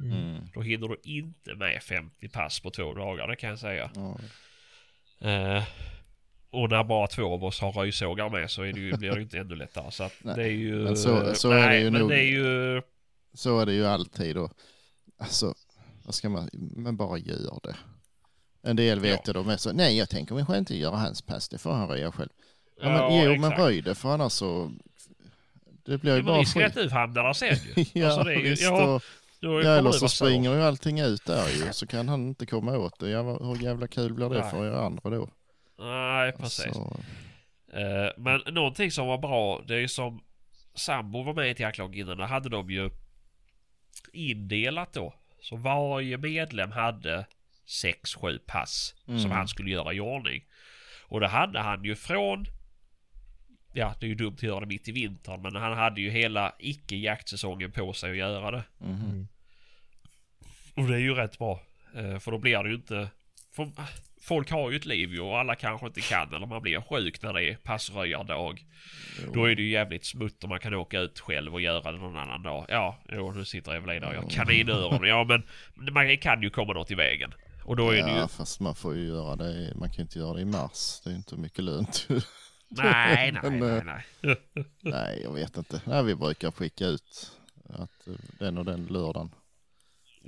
Mm.
Då hinner du inte med 50 pass på två dagar, det kan jag säga.
Ja.
Eh, och när bara två av oss har röjsågar med så är det ju, blir det ju inte ännu lättare. Så att
Nej,
det är ju...
men så- så är
nej,
det ju
men
nog.
det är ju...
Så är det ju alltid och alltså, vad ska man, men bara gör det. En del vet
Ja.
ja. de är så, nej jag tänker vi ska inte göra hans pass, det får han röja själv. Ja, men,
Ja,
jo
exakt.
men röj det för annars så, det blir
Det
ju
är bara
bara
risken att
skit.
du hamnar där sen ju.
Ja,
alltså, det är ju
visst,
ja,
och,
då kommer
ja, eller
du
så
vara
springer ju allting ut där ju, så kan han inte komma åt det. Ja, vad- hur jävla kul blir det
Nej.
för er andra då?
Nej, precis.
Så,
Eh, men någonting som var bra, det är ju som sambo var med i ett jaktlag innan, där hade de ju indelat då. Så varje medlem hade 6-7 pass som
Mm.
han skulle göra i ordning. Och det hade han ju från, ja det är ju dumt att göra det mitt i vintern, men han hade ju hela icke-jaktsäsongen på sig att göra det.
mhm.
Och det är ju rätt bra. Eh, För då blir det ju inte... För folk har ju ett liv ju och alla kanske inte kan eller man blir sjuk när det är passröjardag.
Jo.
Då är det ju jävligt smutt om man kan åka ut själv och göra det någon annan dag. Ja, jo, nu sitter Evelina och jag har kaninöron. Ja, men man kan ju komma något i vägen. Och då är det ju...
Ja, fast man får ju göra det, man kan ju inte göra det i mars, det är inte mycket lönt.
Nej, nej,
Men,
nej,
eh,
nej.
Nej, jag vet inte. Nej, vi brukar skicka ut att eh, den och den lördagen.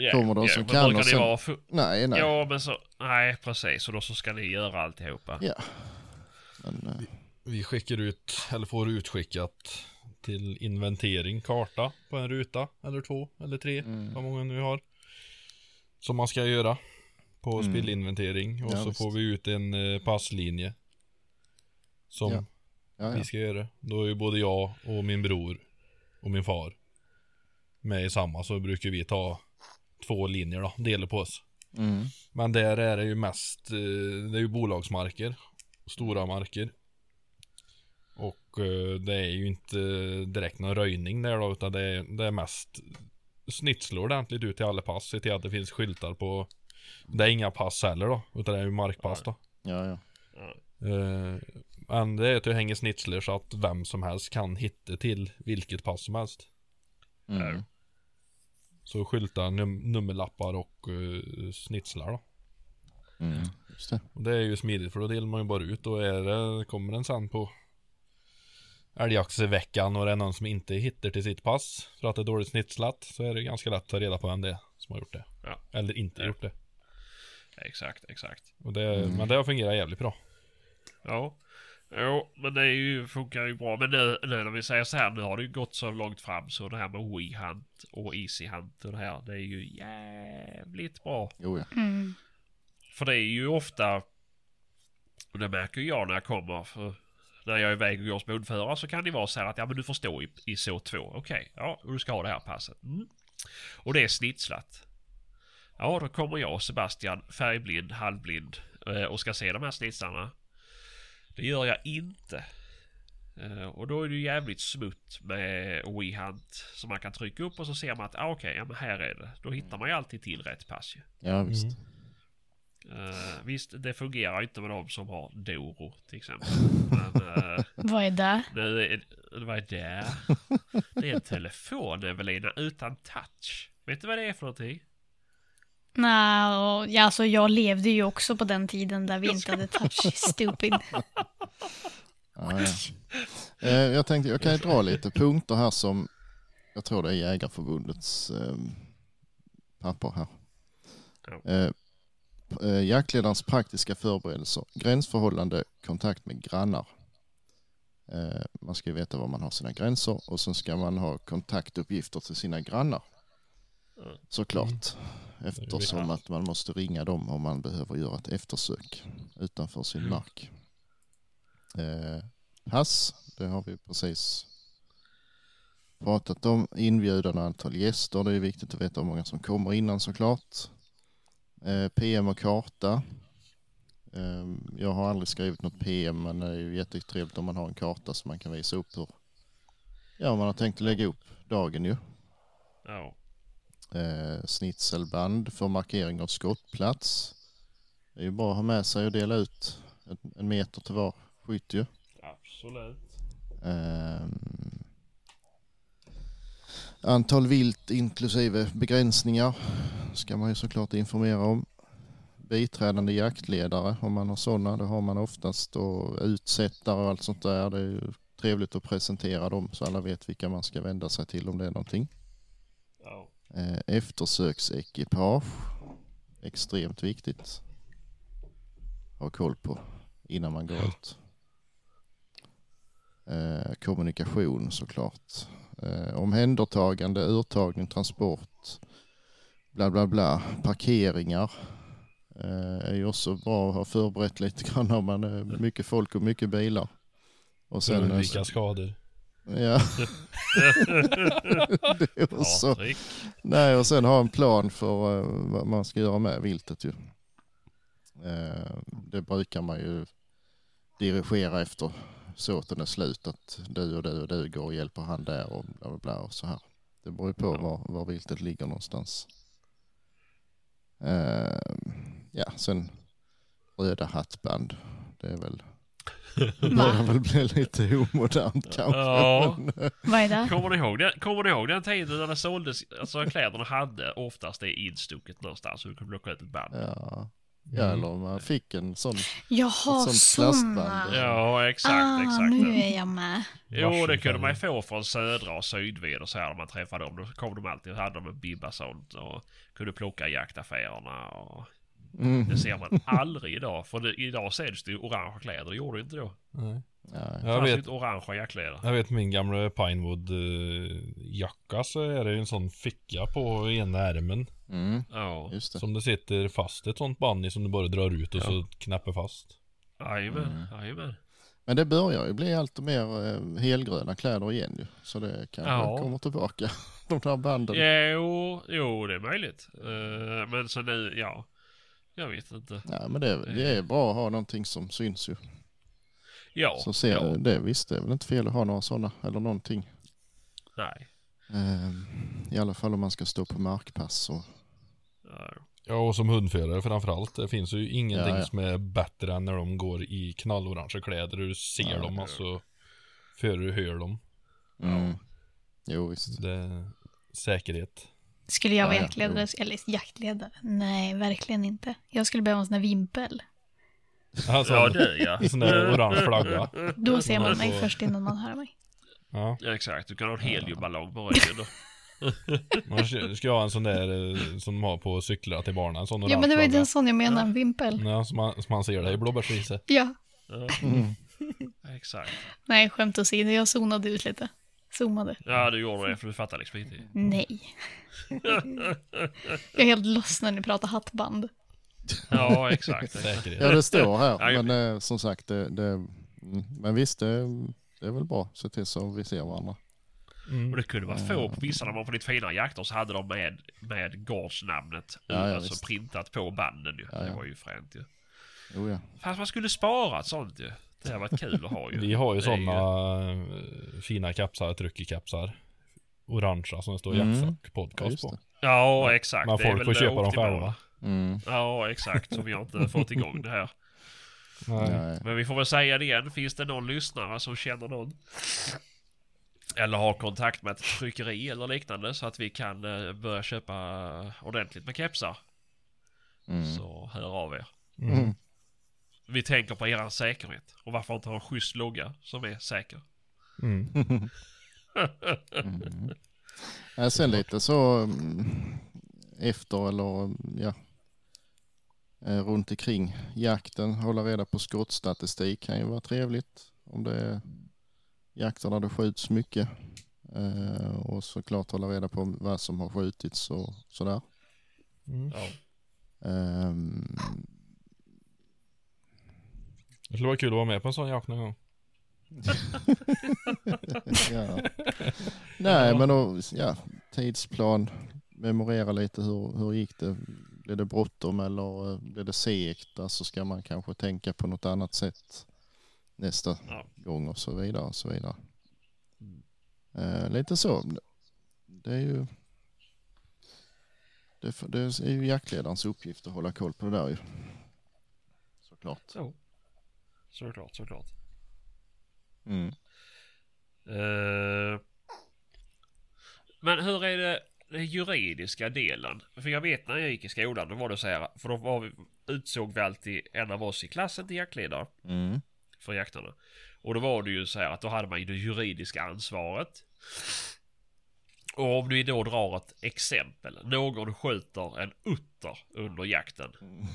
Ja,
kommer de
ja,
som
men
kan
brukar
och
det
sen-
vara fu-
Nej, nej.
Ja, men så... Nej, precis. Och då så ska ni göra alltihopa.
Ja. Men, eh,
Vi skickar ut, eller får utskickat till inventering, karta på en ruta eller två eller tre,
Mm.
vad många nu har. Som man ska göra på
Mm.
spillinventering och
Ja,
så
visst.
får vi ut en eh, passlinje. Som
Ja, ja,
vi
ja.
ska göra. Då är ju både jag och min bror och min far med i samma så brukar vi ta två linjer då, dela på oss.
Mm.
Men där är det ju mest, eh, det är ju bolagsmarker. Stora marker. Och eh, det är ju inte direkt någon röjning där då, utan det är, det är mest snitsla ordentligt ut till alla pass. Se till att det finns skyltar på. Det är inga pass heller då, utan det är ju markpass då.
ja, ja.
Eh, Men det är att du hänger snitslor så att vem som helst kan hitta till vilket pass som helst.
Mm.
Så skyltar, num- nummerlappar och eh, snitslar då.
Mm. Just det.
Och det är ju smidigt för då delar man ju bara ut och är det, kommer den sen på älgjaktsveckan och det är någon som inte hittar till sitt pass för att det är dåligt snitslat så är det ganska lätt att ta reda på vem det är som har gjort det.
Ja.
Eller inte
Ja.
gjort det.
Exakt, exakt.
Och det
Mm.
Men det har fungerat jävligt bra.
Ja. Jo, men det är ju, funkar ju bra. Men nu, nu när vi säger så här, nu har det ju gått så långt fram så det här med WeHunt och EasyHunt och det här, det är ju jävligt bra.
Jo, ja.
Mm.
För det är ju ofta, och det märker jag när jag kommer, för när jag är iväg och går som ordförare så kan det vara så här att ja men du får stå i, i zon 2, okej, ja, och du ska ha det här passet. Mm. Och det är snitslat. Ja, då kommer jag och Sebastian, färgblind, halvblind, eh, och ska se de här snitslarna. Det gör jag inte. Eh, Och då är det ju jävligt smutt med WeHunt som man kan trycka upp och så ser man att ah, okej, ja men här är det. Då hittar man ju alltid till rätt pass ju.
Ja, visst.
Eh, visst, det fungerar inte med de som har Doro till exempel. Men eh,
Vad är det?
nu är, vad är det? Det är en telefon Evelina utan touch. Vet du vad det är för någonting?
Nej, och, ja, alltså jag levde ju också på den tiden där vi inte hade touch stupid.
Ja, ja. Eh, Jag tänkte, jag kan ju dra lite punkter här som jag tror det är Jägarförbundets eh, papper här.
Ja.
Eh, p- eh, jaktledarens praktiska förberedelser, gränsförhållande, kontakt med grannar. Eh, man ska ju veta var man har sina gränser och sen ska man ha kontaktuppgifter till sina grannar.
Mm.
Såklart. Eftersom att man måste ringa dem om man behöver göra ett eftersök utanför sin mark. Eh, pass, det har vi precis pratat om. Inbjudan och antal gäster, det är viktigt att veta hur många som kommer innan såklart. Eh, PM och karta. Eh, jag har aldrig skrivit något PM men det är ju jättetrevligt om man har en karta så man kan visa upp hur ja, man har tänkt lägga upp dagen ju.
Ja.
Eh, snitselband för markering av skottplats. Det är ju bra att ha med sig och dela ut en- en meter till var skytt ju.
Absolut.
Ehm, antal vilt inklusive begränsningar ska man ju såklart informera om. Biträdande jaktledare om man har sådana, det har man oftast och utsättare och allt sånt där. Det är ju trevligt att presentera dem så alla vet vilka man ska vända sig till om det är någonting.
Ja.
Eh, eftersöksekipage, extremt viktigt. Ha koll på innan man går ut. Eh, kommunikation såklart. Eh, omhändertagande, urtagning, transport, bla bla bla. Parkeringar eh, är ju också bra att ha förberett lite grann om man är mycket folk och mycket bilar. Och
För
sen...
att undvika skador.
Ja. det är också...
Patrik.
Nej, och sen ha en plan för eh, vad man ska göra med viltet ju. Eh, det brukar man ju dirigera efter så att den är slut, att du och du och du går och hjälper han där och bla bla bla och så här. Det beror ju på var, var viltet ligger någonstans. Eh, ja, sen röda hattband. Det är väl, det börjar väl bli lite omodernt kanske.
Ja.
Vad är det?
Kommer ni ihåg den, kommer ni ihåg den tiden när det såldes, alltså kläderna hade oftast det instucket någonstans så du kunde plocka ut ett band?
Ja. ja,
Mm.
eller om man fick en sån
Jaha,
Ett sånt
såna.
plastband.
Ja, exakt,
Ah,
exakt.
nu är jag med.
Jo, det
Varsin
kunde man ju
färg.
få från södra och sydvid och så här när man träffade dem. Då kom de alltid och hade de en bibba sånt och kunde plocka i jaktaffärerna och...
Mm.
Det ser man aldrig idag, för det, idag säljs det ju orangea kläder, det gjorde det inte då.
Nej.
Nej.
Det
Jag
fanns ju
vet,
inte orangea jackkläder.
jag vet min gamla Pinewood-jacka så är det ju en sån ficka på ena ärmen.
Mm.
Ja,
Just det.
Som det sitter fast ett sånt band i som du bara drar ut och så knäpper fast. Mm.
jajamän, jajamän.
Men det börjar ju bli allt mer eh, helgröna kläder igen ju. Så det kanske
Ja.
kommer tillbaka. De där banden.
Jo, jo, det är möjligt. Eh, men så nu, ja. Jag vet inte.
Nej, men det, det är bra att ha någonting som syns ju.
Ja,
Så ser
ja,
det. Visst, det är väl inte fel att ha några sådana eller någonting.
nej.
Ehm, I alla fall om man ska stå på markpass. Och,
Ja,
Ja och som hundförare framförallt. Det finns ju ingenting
Ja, ja.
som är bättre än när de går i knallorangea kläder och du ser
Ja,
dem
ja.
alltså. Före du hör dem.
mm. Jo, visst.
Det är säkerhet.
Skulle jag vara
Ja, ja,
jaktledare? Eller jaktledare? Nej, verkligen inte. Jag skulle behöva en sån där vimpel.
Alltså,
ja det ja.
en sån där orange flagga.
Då ser man
Alltså-
mig först innan man hör mig.
Ja.
Ja, Exakt, du kan ha en heliumballong på ryggen då.
Man ska ska ha en sån där eh, som de har på cyklar till barnen. En sån
Ja, men det var ju
orange
den sån jag menade, en vimpel.
flagga. Ja, Mm. som man, som man ser det i blåbärsriset.
Ja.
Mm.
Ja, Exakt.
Nej, skämt åsido, jag zonade ut lite. Zoomade.
Ja, du gjorde det för du fattar liksom inte.
Nej. jag är helt lost när ni pratar hattband.
Ja, exakt. exakt.
Säkerhet.
Ja, det står här.
Ja, jag-
men eh, som sagt, det, det, mm. men visst, det, det är väl bra. Se till så vi ser varandra.
Och
Mm.
det kunde vara få på vissa, när man var på lite finare jakter så hade de med, med gårdsnamnet
Ja, ja,
alltså
visst.
printat på banden ju.
Ja,
Det
ja.
var ju fränt ju.
Jo, ja.
Fast man skulle spara ett sånt ju. Det hade varit kul att ha ju.
Vi har ju
Det är
sådana eh, fina kapsar, tryckekapsar. Orangea som det står
Mm.
jaktsack
ja
podcast
just
på.
det.
Ja, exakt.
Men
Det är
folk
väl
får
det
köpa dem
optimala.
själva.
Mm.
Ja, exakt. Som vi har inte fått igång det här.
Nej.
Nej.
Men vi får väl säga det igen. Finns det någon lyssnare som känner någon? Eller har kontakt med ett tryckeri eller liknande så att vi kan eh, börja köpa ordentligt med kepsar.
Mm.
Så hör av er.
Mm.
Vi tänker på er säkerhet. Och varför inte ha en schysst logga som är säker?
Mm.
Nej, Mm. Eh, sen lite så mm, efter eller mm, ja, eh, runt omkring jakten, hålla reda på skottstatistik kan ju vara trevligt om det är jakter där det skjuts mycket. Eh, och såklart hålla reda på vad som har skjutits och sådär.
Mm.
Ja.
Ehm,
Det skulle vara kul att vara med på en sån jakt någon gång.
ja. Nej, men då, ja, tidsplan, memorera lite hur, hur gick det? Blev det bråttom eller eh, blev det segt? Alltså ska man kanske tänka på något annat sätt nästa
Ja.
gång och så vidare och så vidare. Eh, lite så. Det är ju det, f- det är ju jaktledarens uppgift att hålla koll på det där ju. Såklart.
Så. Såklart, såklart.
Mm.
Eh, Men hur är det den juridiska delen? För jag vet när jag gick i skolan, då var det så här, för då var vi, utsåg vi alltid en av oss i klassen till jaktledare
Mm.
för jakterna. Och då var det ju så här att då hade man ju det juridiska ansvaret. Och om du då drar ett exempel. Någon skjuter en utter under jakten.
Mm.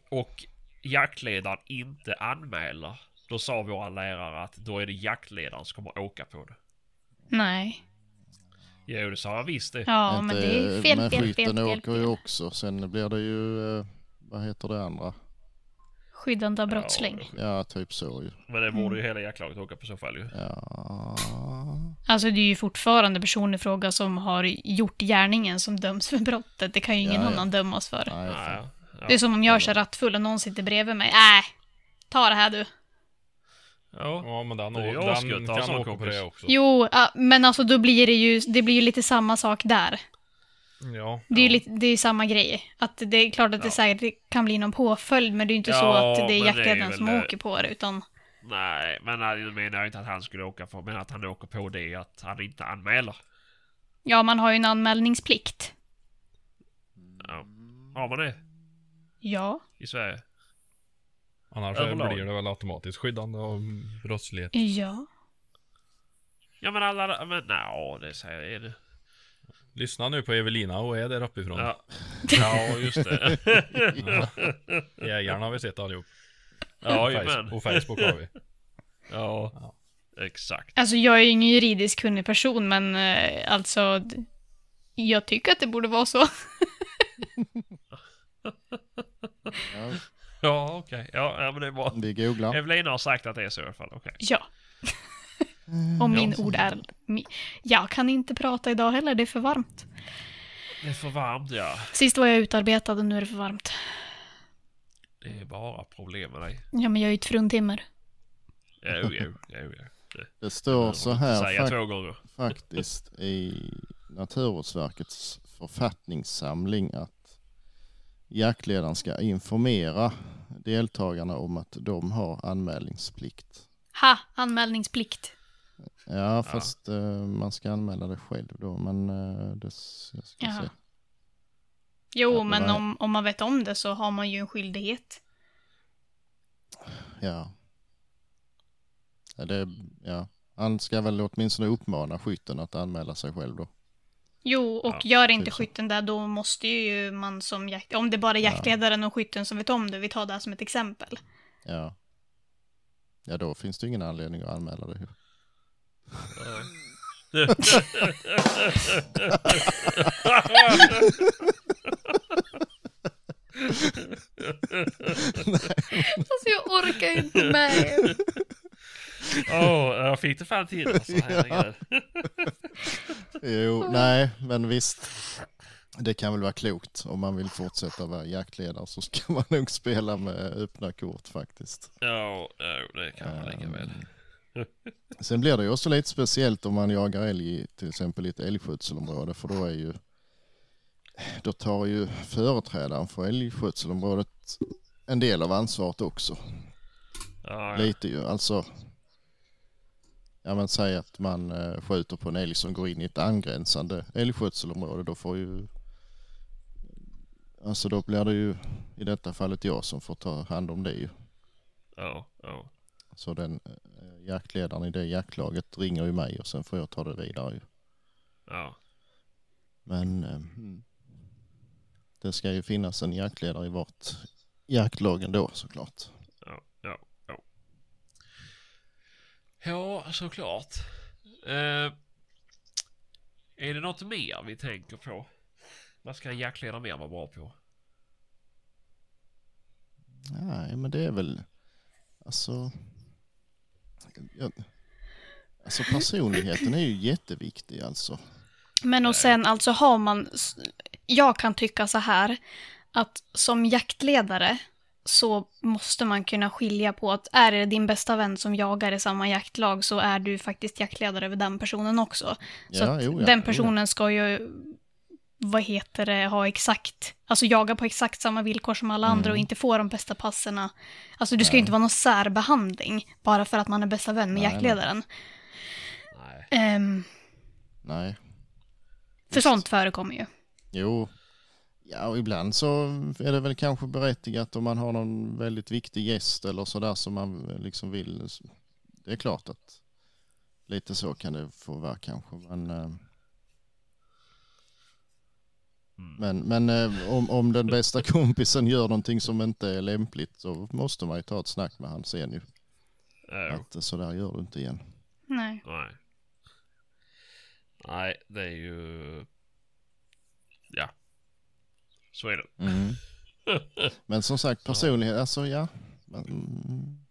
Och jaktledaren inte anmäler. Då sa våra lärare att då är det jaktledaren som kommer åka på det.
Nej. Jo,
Jo, det sa han visst det.
Ja, men det är ju fel,
men
fel, fel,
skiten
fel, fel,
åker ju också. Sen blir det ju, eh, vad heter det andra?
Skyddande av brottsling. Mm.
Ja, typ så ju.
Men det borde ju hela jaktlaget åka på så fall ju.
Ja.
Alltså det är ju fortfarande personen i fråga som har gjort gärningen som döms för brottet. Det kan ju ingen
Ja, ja.
annan dömas för.
Nej, fan.
Nej, ja.
Det är som om jag kör rattfull och någon sitter bredvid mig. Äh, ta det här du.
ja.
Ja men den,
Det är
å-
jag ska
den
ta
kan
sån
åka på
kompis.
det också.
Jo, ja, men alltså då blir det ju, det blir ju lite samma sak där.
Ja.
Det är ju lite, det är ju samma grej. Att det är klart att det
Ja.
säkert det kan bli någon påföljd, men det är ju inte
Ja,
så att det
men
är
det är
jaktledaren
väl
som
det.
åker på det, utan
Nej, men nu menar jag inte att han skulle åka på, men att han åker på det att han inte anmäler.
ja, man har ju en anmälningsplikt.
Ja. Har man det
Ja.
i Sverige?
Annars
Överlag.
blir det väl automatiskt skyddande av brottslighet.
Ja.
Ja men alla, men nja, det säger jag. Är det.
Lyssna nu på Evelina, och är där uppifrån.
Ja. ja, just det.
Jägarna har vi sett allihop.
Ja,
Och Face-
jajamän.
och Facebook har vi.
Ja, exakt.
Alltså jag är ju ingen juridiskt kunnig person, men eh, alltså d- jag tycker att det borde vara så.
Ja,
Ja, okej. Ja, ja, men det är bra.
vi googlar.
Evelina har sagt att det är så i alla fall. Okej.
Ja. Och min
Ja.
ord är... mi- Jag kan inte prata idag heller, det är för varmt.
Det är för varmt ja.
Sist var jag utarbetad och nu är det för varmt.
Det är bara problem med dig.
Ja, men jag är ju ett fruntimmer.
Jo, jo, jo, jo.
Det står så här
Säga
fak-
två gånger.
faktiskt i Naturvårdsverkets författningssamling att jaktledaren ska informera deltagarna om att de har anmälningsplikt.
Ha! Anmälningsplikt.
Ja, fast eh, man ska anmäla det själv då, men eh, det, s- jag ska
Jaha.
se.
Jo,
Ja,
men
nej.
om, om man vet om det så har man ju en skyldighet.
Ja. Ja, det, ja. Han ska väl åtminstone uppmana skytten att anmäla sig själv då.
Jo, och
Ja,
gör inte
typ så.
skytten där, då måste ju man som jakt... Om det bara är jaktledaren och skytten som vet om det, vi tar det här som ett exempel.
Ja. Ja, då finns det ju ingen anledning att anmäla det.
Alltså jag orkar inte med.
Åh, jag fick det fan till alltså. Herregud.
Jo, nej, men visst. Det kan väl vara klokt om man vill fortsätta vara jaktledare så ska man nog spela med öppna kort faktiskt.
Ja, ja, det kan man lika väl.
Sen blir det ju också lite speciellt om man jagar älg i till exempel i ett älgskötselområde för då är ju då tar ju företrädaren för älgskötselområdet en del av ansvaret också.
Ja, ja.
Lite ju, alltså. Ja men säg att man eh, skjuter på en älg som går in i ett angränsande älgskötselområde, då får ju... Alltså då blir det ju i detta fallet jag som får ta hand om det ju.
ja, ja.
Så den eh, jaktledaren i det jaktlaget ringer ju mig och sen får jag ta det vidare ju.
ja.
Men eh, det ska ju finnas en jaktledare i vart jaktlag ändå såklart.
Ja, ja, ja. Ja, såklart. Eh, är det något mer vi tänker på? Vad ska en jaktledare mer vara bra på?
Nej, men det är väl... Alltså... Jag, alltså personligheten är ju jätteviktig alltså.
Men och sen alltså har man, s- jag kan tycka så här, att som jaktledare så måste man kunna skilja på att är det din bästa vän som jagar i samma jaktlag så är du faktiskt jaktledare över den personen också.
Ja,
Så att
jo, ja,
den
jo,
personen ska ju vad heter det, ha exakt, alltså jaga på exakt samma villkor som alla
Mm.
andra och inte få de bästa passerna. Alltså du ska ju inte vara någon särbehandling bara för att man är bästa vän
Nej,
med
nej.
jaktledaren.
Nej.
Ehm,
Nej.
för sånt förekommer ju.
Jo. Ja, och ibland så är det väl kanske berättigat om man har någon väldigt viktig gäst eller sådär som man liksom vill. Det är klart att lite så kan det få vara kanske. Men, eh,
Mm.
men, men eh, om, om den bästa kompisen gör någonting som inte är lämpligt så måste man ju ta ett snack med han sen ju.
Eh,
Att eh, sådär gör du inte igen.
Nej.
Nej. Nej, det är ju... Ja. Så är det.
Mm. Men som sagt, personlighet, alltså ja. Man, mm.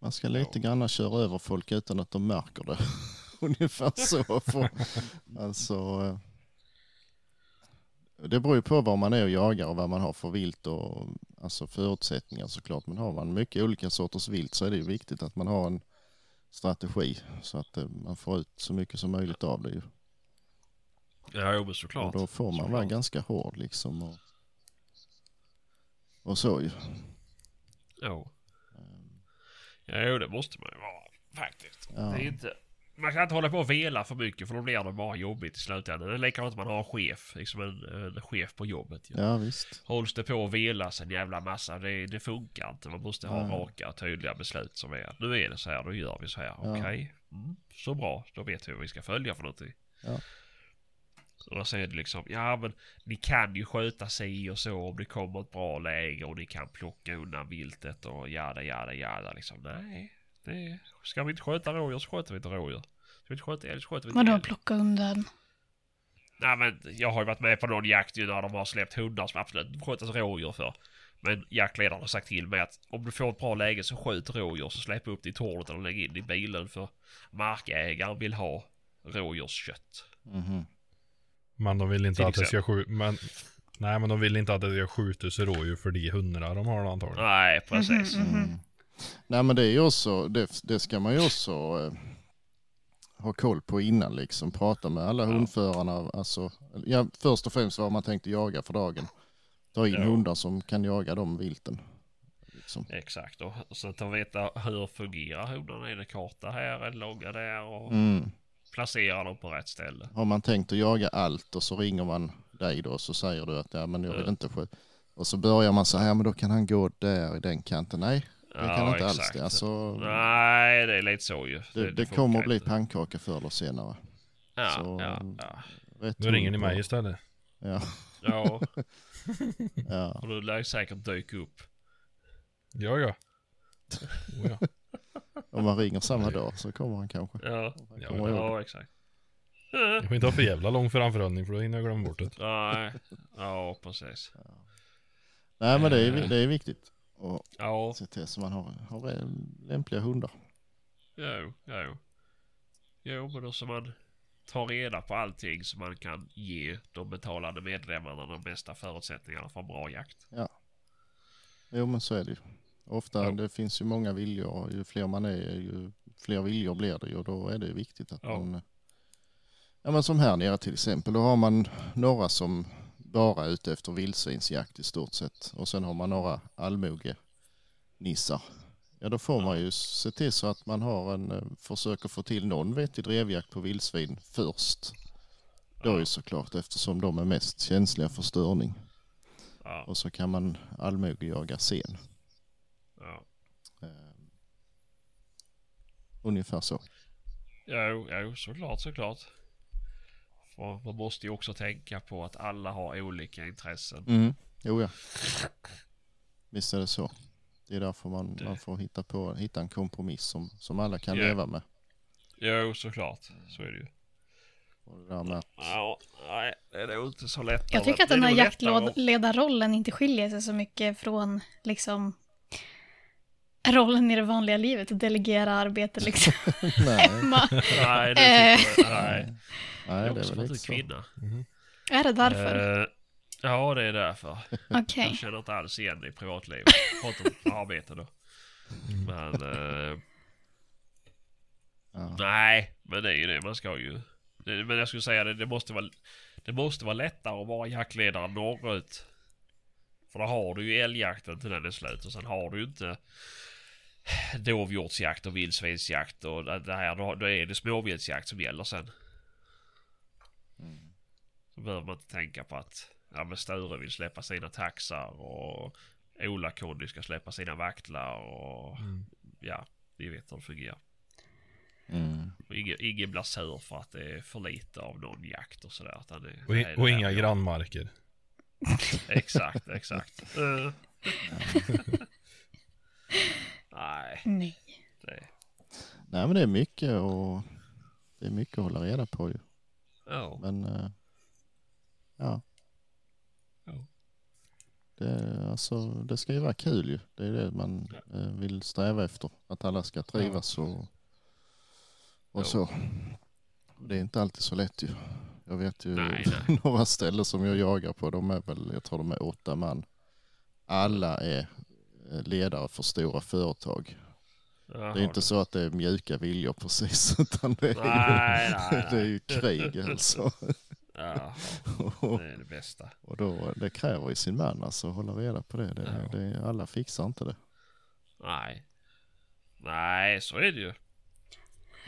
man ska lite grann köra över folk utan att de märker det. Ungefär så. För, alltså, eh, det beror ju på var man är och jagar och vad man har för vilt och alltså förutsättningar såklart. Men har man mycket olika sorters vilt så är det ju viktigt att man har en strategi så att eh, man får ut så mycket som möjligt av det. Ju.
Ja, jo men
Och
såklart.
då får man vara
Såklart.
ganska hård liksom. Och, och så ju.
Jo. Ja, jo, det måste man ju vara faktiskt.
Ja.
Det är inte... Man kan inte hålla på och vela för mycket för då blir det bara jobbigt i slutändan. Det är likadant om man har en chef, liksom en, en chef på jobbet. ju.
Ja visst.
Hålls det på att velas en jävla massa, det, det funkar inte. Man måste ha
Nej.
raka och tydliga beslut som är att nu är det så här, då gör vi så här.
Ja.
Okej, mm, så bra, då vet vi vad vi ska följa för någonting.
Ja.
Och då säger det liksom, ja men ni kan ju sköta sig och så om det kommer ett bra läge och ni kan plocka undan viltet och jada jada jada liksom. Nej, det ska vi inte sköta rådjur så sköter vi inte rådjur. Ska vi inte sköta älg så sköter vi inte
Vadå
älg.
plocka undan?
Nej men jag har ju varit med på någon jakt ju när de har släppt hundar som absolut inte skötas rådjur för. Men jaktledaren har sagt till mig att om du får ett bra läge så skjut rådjur så släpp upp det i tornet eller lägg in det i bilen för markägaren vill ha rådjurskött.
Mhm.
Men de vill inte
Till
att det ska skjuta... Men... Nej men de vill inte att det ska skjutas rådjur för de hundarna de har antagligen.
Nej precis.
Mhm, mhm.
Nej men det är ju också, det, det ska man ju också eh, ha koll på innan liksom. Prata med alla hundförarna. Alltså, ja, först och främst vad man tänkte jaga för dagen. Ta in
Ja.
hundar som kan jaga de vilten. Liksom.
Exakt och så att de veta hur fungerar hundarna. Är det korta här eller långa där och
Mm.
placera dem på rätt ställe.
Har man tänkt att jaga allt och så ringer man dig då och så säger du att ja, men jag vill
Ja.
inte skjuta. Och så börjar man så här, ja, men då kan han gå där i den kanten. Nej, det kan
Ja,
inte alls
exakt.
det. Alltså,
Nej det är lite så ju.
det, det,
funkar
kommer att bli
inte.
pannkaka förr eller senare.
Ja,
så-
ja, ja.
Rätt
Då ringer ni
hund på-
mig istället.
Ja,
ja,
ja.
och du lär ju säkert dyka upp.
Ja ja. Oh, ja.
Om man ringer samma dag så kommer han kanske.
Ja.
Ja,
Kommer ihåg.
Ja, exakt.
Jag får inte ha för jävla lång framförhållning för då hinner jag glömma bort det.
Nej, ja precis.
Nej men det är, det är viktigt att
Ja,
se till så man har, har eh, lämpliga hundar.
jo, jo. Jo, men då så man tar reda på allting så man kan ge de betalande medlemmarna de bästa förutsättningarna för en bra jakt.
Jo men så är det ju. Ofta,
Ja.
det finns ju många viljor och ju fler man är ju fler viljor blir det ju och då är det ju viktigt att
Ja.
man... Ja men som här nere till exempel, då har man några som bara är ute efter vildsvinsjakt i stort sett och sen har man några allmogenissar. Ja då får man ju se till så att man har en, eh, försöker få till någon vettig drevjakt på vildsvin först. Då ju såklart eftersom de är mest känsliga för störning
Ja,
och så kan man allmogejaga sen.
ja.
Eh, ungefär så.
Jo, jo, såklart, såklart. För man måste ju också tänka på att alla har olika intressen.
Mm. Jo ja. Visst är det så. Det är därför man, man får hitta, på, hitta en kompromiss som, som alla kan
Ja.
leva med.
Jo, såklart. Så är det ju.
Och det där med att,
Ja, nej, det är nog inte så lätt.
Jag tycker att den
Det är
här
nog lättare om-
jaktledarrollen inte skiljer sig så mycket från liksom rollen i det vanliga livet att delegera arbete liksom
nej,
hemma.
Nej, det tycker jag. Nej.
nej, det
också
är väl
för att du
inte
är
så.
kvinna.
Är det därför?
Eh, ja, det är därför.
Okej.
Jag känner inte alls igen dig i privatlivet. Pratar om arbete då. Men... eh,
Ja.
Nej, men det är ju det man ska ju. Det- Men jag skulle säga det, det måste vara... Det måste vara lättare att vara jaktledare norrut. För då har du ju älgjakten till den är slut och sen har du ju inte dovhjortsjakt och vildsvinsjakt och det det här. Då, då är det småviltsjakt som gäller sen. Då behöver man inte tänka på att ja, men Sture vill släppa sina taxar och Ola-Conny ska släppa sina vaktlar och ja, vi vet hur det fungerar.
Mm.
Och Ingen, ingen blir sur för att det är för lite av någon jakt och sådär. utan det-
Och,
nej,
i,
det
och
här
inga
går-
grannmarker.
Exakt, exakt. Eh. Nej,
Nej.
det...
Nej men det är mycket och det är mycket att hålla reda på ju.
Ja.
Men eh, ja.
Ja.
Det, alltså, det ska ju vara kul ju. Det är det man eh, vill sträva efter. Att alla ska trivas och,
Jo.
och så. Det är inte alltid så lätt ju. Jag vet ju
Nej,
några ställen som jag jagar på. De är väl, jag tror de är åtta man. Alla är eh, ledare för stora företag. Det är inte så att det är mjuka viljor precis, utan det är,
Nej,
ju,
nej,
det är ju krig alltså.
Jaha,
Och,
det är det bästa.
och då, det kräver ju sin man alltså, att hålla reda på det. det,
Ja.
det alla fixar inte det.
Nej. Nej, så är det ju.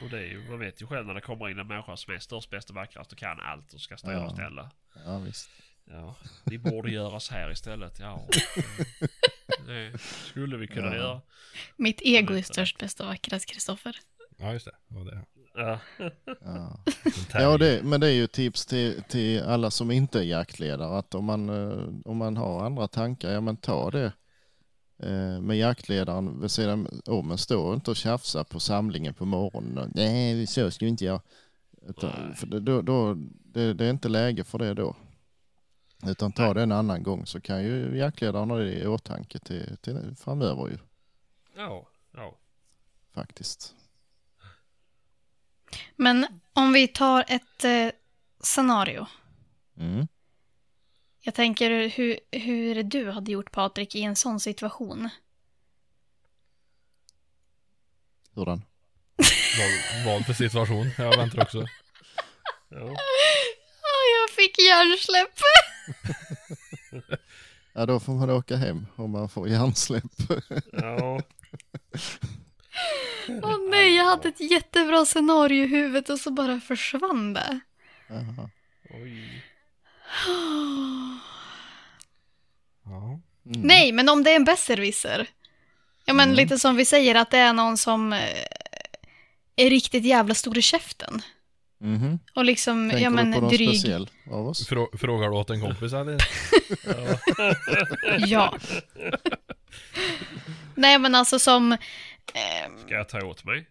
Och det är ju, man vet ju själv när det kommer in en människa som är störst, bäst och vackrast och kan allt och ska styra
Ja.
och ställa.
Ja, visst.
Ja, det borde göras här istället. Ja, det skulle vi kunna
Ja.
göra.
Mitt ego är
Lite.
störst, bäst och vackrast, Kristoffer.
Ja, just det. det, var det.
Ja.
Ja.
Den
Ja,
termen.
det, men det är ju ett tips till, till alla som inte är jaktledare. Att om man, eh, om man har andra tankar, ja men ta det eh, med jaktledaren vid sidan om en. Stå inte och tjafsa på samlingen på morgonen. och, Nej, så ska vi inte göra. Utan,
Nej.
för det, då, då, det, det är inte läge för det då. Utan ta det en annan gång så kan ju jaktledaren ha det i åtanke till, till framöver ju
Ja, ja.
faktiskt.
Men om vi tar ett eh, scenario.
Mm.
Jag tänker hur, hur du hade gjort Patrik i en sån situation.
Hurdan?
Val, val för situation. Jag väntar också.
ja.
jag fick hjärnsläpp.
Ja, då får man åka hem om man får hjärnsläpp.
ja.
Åh nej, jag hade ett jättebra scenario i huvudet och så bara försvann det.
Jaha.
Oj.
Ja.
Mm.
Nej, men om det är en besserwisser. Ja, men
Mm.
lite som vi säger att det är någon som eh, är riktigt jävla stor i käften.
Mhm.
Och liksom,
Tänker
ja men
du på någon
dryg.
speciell av oss?
Frå, frågar du åt en kompis eller?
Ja.
Ja. nej, men alltså som... ehm,
Ska jag ta åt mig?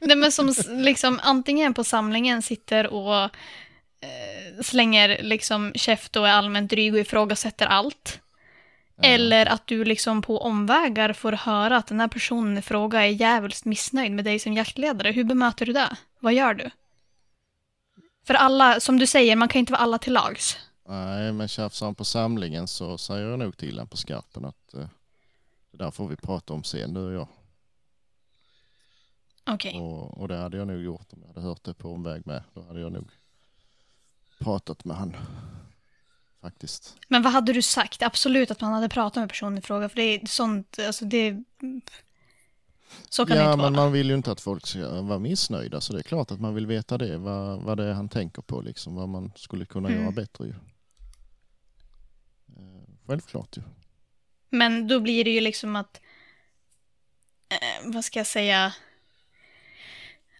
Nej men som s- liksom antingen på samlingen sitter och eh, slänger liksom käft och är allmänt dryg och ifrågasätter allt. Eller att du liksom på omvägar får höra att den här personen i fråga är jävligt missnöjd med dig som jaktledare. Hur bemöter du det? Vad gör du? För alla, som du säger, man kan inte vara alla till lags.
Nej, men tjafsar han på samlingen så säger jag nog till han på skarpen att eh, det där får vi prata om sen, du och jag.
Okej.
Och, och det hade jag nog gjort om jag hade hört det på omväg med. Då hade jag nog pratat med han. Faktiskt.
Men vad hade du sagt? Absolut att man hade pratat med personen i fråga, för det är sånt, alltså det... Så kan det
Ja,
inte
men
vara.
man vill ju inte att folk ska vara missnöjda, så det är klart att man vill veta det, vad, vad det är han tänker på, liksom, vad man skulle kunna
Mm.
göra bättre ju. Eh, Självklart ju.
Men då blir det ju liksom att, eh, vad ska jag säga,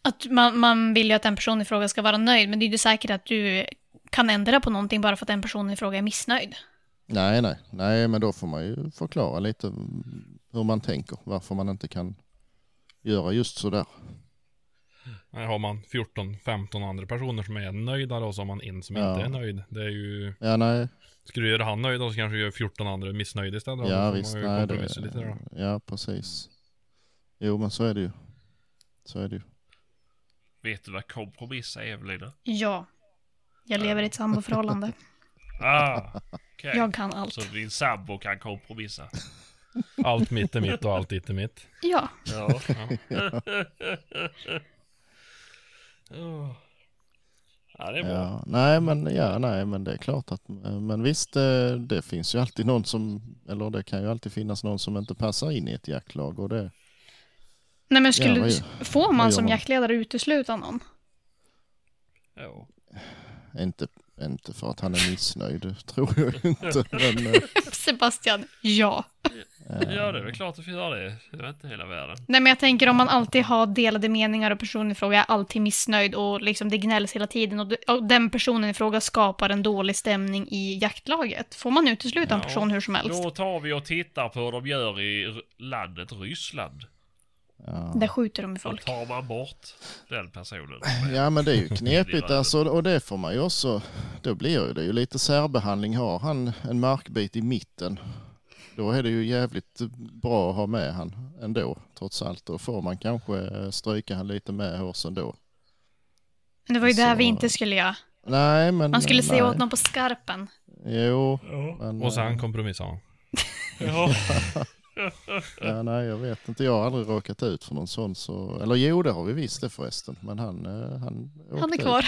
att man, man vill ju att en person i fråga ska vara nöjd, men det är ju inte säkert att du kan ändra på någonting bara för att en person i fråga är missnöjd.
Nej, nej, nej, men då får man ju förklara lite mm, hur man tänker, varför man inte kan göra just sådär.
Här har man 14-15 andra personer som är nöjda och så har man en som
Ja.
inte är nöjd. Det är ju...
Ja, nej,
Ska du göra han nöjd då så kanske du gör 14 andra missnöjda istället.
ja
då får
visst,
man ju
nej,
kompromissa lite där då.
ja precis. Jo, men så är det ju. Så är det ju.
Vet du vad kompromiss är Evelina?
Ja. Jag lever i ett samboförhållande.
Ah, okej.
Jag kan allt.
Så din sambo kan kompromissa?
Allt mitt är mitt och allt ditt är mitt.
Ja.
Ja.
Ja.
Åh, Ja, det är bra.
Ja, nej, men, ja, nej, men det är klart att, men visst, eh, det finns ju alltid någon som, eller det kan ju alltid finnas någon som inte passar in i ett jaktlag och det,
Nej men skulle,
Ja, vad
du- får
vad gör
man som
man?
jaktledare utesluta någon?
Ja.
inte, inte för att han är missnöjd, tror jag inte, men eh,
Sebastian, ja.
ja, det är väl klart att vi gör det. Det är inte hela världen.
Nej men jag tänker om man alltid har delade meningar och personen i fråga är alltid missnöjd och liksom det gnälls hela tiden och, d- och den personen i fråga skapar en dålig stämning i jaktlaget. Får man utesluta en
Ja,
person hur som helst?
Då tar vi och tittar på hur de gör i r- landet Ryssland.
ja.
Där skjuter de i
Då
folk.
tar man bort den personen.
Ja men det är ju knepigt
Lilla-
alltså och det får man ju också, då blir det ju lite särbehandling. Har han en markbit i mitten då är det ju jävligt bra att ha med han ändå trots allt. Då får man kanske eh, stryka han lite med hårsen då.
Men det var ju det
Så-
vi inte skulle göra.
Nej men...
Man skulle
nej.
säga åt någon på skarpen.
Jo.
Ja.
Men,
Och sen
eh,
kompromissar man.
Ja.
ja, nej jag vet inte, jag har aldrig råkat ut för någon sån så, eller jo det har vi visst det förresten men han... eh, Han,
Han
åkte
är
ut.
kvar.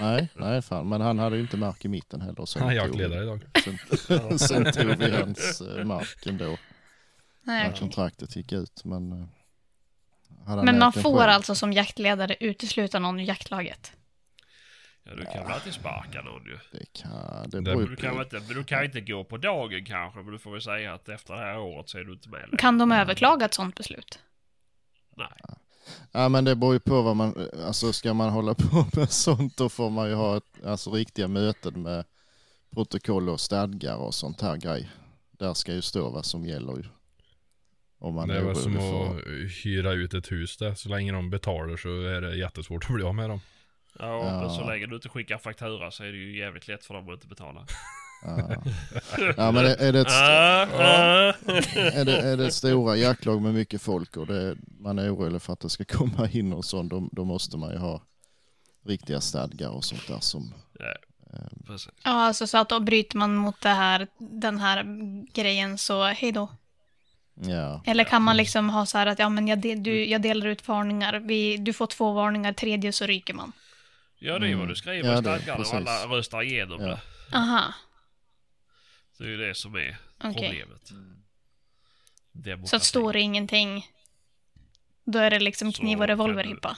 Nej, nej fan men han hade ju inte mark i mitten heller. så
Han är
tog-
jaktledare idag.
Sen, sen tog vi hans eh, mark ändå
Nej,
när
okej.
kontraktet gick ut. Men, eh, hade han
Men
ägt
man
den
får
själv-
alltså som jaktledare utesluta någon ur jaktlaget.
ja, du kan väl alltid sparka någon ju.
Det kan, det
Där
beror
Du
ju
kan, väl
på.
inte, du kan ju inte gå på dagen kanske, men du får väl säga att efter det här året så är du inte med längre.
Kan de överklaga ett sånt beslut?
Nej.
Ja, men det beror ju på vad man, alltså ska man hålla på med sånt då får man ju ha ett, alltså, riktiga möten med protokoll och stadgar och sånt här grej. Där ska ju stå vad som gäller ju. Om man
Det
är
var som
orolig för.
att hyra ut ett hus där. Så länge de betalar så är det jättesvårt att bli av med dem.
Ja,
Ja.
men så länge du inte skickar faktura så är det ju jävligt lätt för dem att inte betala.
Ja. Ja, men är, är det ett,
Ah, ah.
är, det, är det stora jaktlag med mycket folk och det, man är orolig för att det ska komma in och sånt, då, då måste man ju ha riktiga stadgar och sånt där som...
Ja, precis.
Ja, alltså så att då bryter man mot det här, den här grejen så hej då.
Ja,
Eller kan man liksom ha så här att ja, men jag, de,
Mm.
du, jag delar ut varningar, Vi, du får två varningar, tredje så ryker man.
Ja, det är ju vad du skriver
Mm. Ja, det är
i stadgarna och
precis.
alla röstar igenom
Ja.
det.
Aha,
Det är ju det som är
okej.
problemet.
Mm.
Så att står det ingenting, då är det liksom
Så
kniv
kan
och
du-
revolverhippa.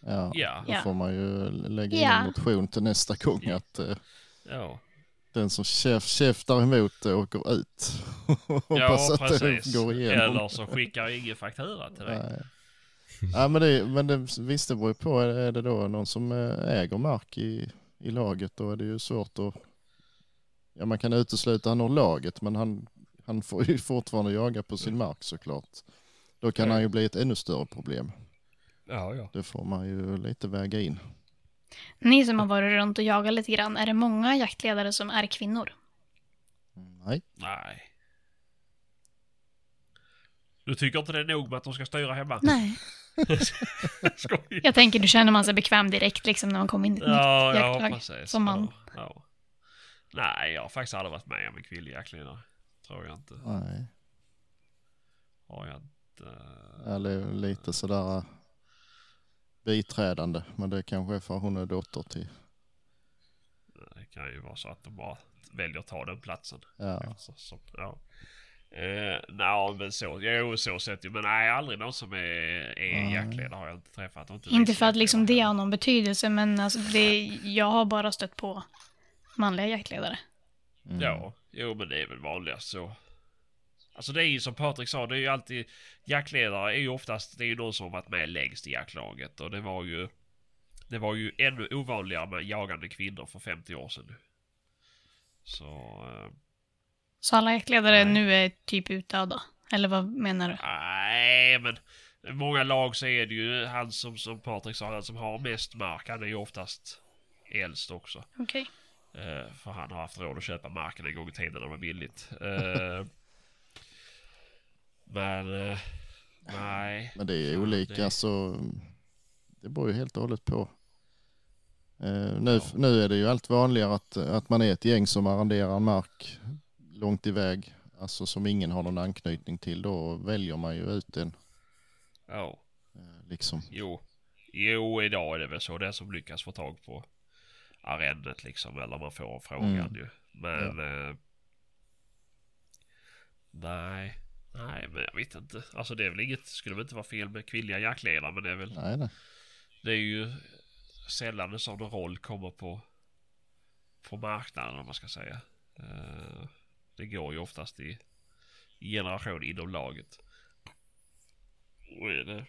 ja.
Ja,
Då
Ja.
får man ju lägga in
Ja.
en motion till nästa gång att eh,
ja.
den som käf, käftar emot det åker ut. Hoppas
ja
att
precis.
det går igenom.
Eller så skickar ingen faktura till dig.
Nej. Ja, men det, men det, visst, det beror ju på. Är är det då någon som eh, äger mark i, i laget, då är det ju svårt att... Ja, man kan utesluta han ur laget, men han, han får ju fortfarande jaga på sin mark såklart. Då kan
Ja.
han ju bli ett ännu större problem.
Ja, ja.
Det får man ju lite väga in.
Ni som har varit runt och jagat lite grann, är det många jaktledare som är kvinnor?
Nej,
Nej. Du tycker inte det är nog med att de ska styra hemma?
Nej.
Skoj.
Jag tänker, du känner man sig bekväm direkt liksom när man kommer in i ett
Ja,
nytt
ja,
jaktlag.
precis.
som man.
Ja, ja. Nej, jag har faktiskt aldrig varit med om en kvinnlig jaktledare. Tror jag inte.
nej.
Har jag inte.
Eller lite sådär eh, biträdande, men det kanske är för att hon är dotter till...
Det kan ju vara så att de bara väljer att ta den platsen.
Ja.
Alltså, som, ja. Eh, nej men så, jo så sett ju. Men nej aldrig någon som är, är
Nej.
jaktledare har jag inte träffat. och
Inte för att liksom det
vicejaktledare
har någon betydelse, men alltså det, jag har bara stött på manliga jaktledare.
Mm.
heller. Ja, jo men det är väl vanligast så. Alltså det är ju som Patrik sa, det är ju alltid jaktledare är ju oftast, det är ju någon som har varit med längst i jaktlaget och det var ju det var ju ännu ovanligare med jagande kvinnor för 50 år sedan. Så, eh,
Så alla jaktledare
Nej.
nu är typ utdöda? Eller vad menar du?
Nej, men i många lag så är det ju han som, som Patrik sa, han som har mest mark, han är ju oftast äldst också.
Okej.
Eh, för han har haft råd att köpa marken en gång i tiden när det var billigt. Eh, men, eh, nej.
Men det är olika
det-
så det beror ju helt och hållet på. Eh, nu, nu är det ju allt vanligare att, att man är ett gäng som arrenderar en mark långt iväg, alltså som ingen har någon anknytning till. Då väljer man ju ut den
Ja,
eh, liksom.
jo. Jo, idag är det väl så. Den som lyckas få tag på arendet liksom. Eller man får frågan
Mm.
ju. Men... Eh, nej. Nej, men jag vet inte. Alltså det är väl inget, skulle väl inte vara fel med kvinnliga jaktledare men det är väl...
Nej, nej.
Det är ju sällan en sån roll kommer på, på marknaden om man ska säga. Eh, Det går ju oftast i i generation inom laget. Och är det,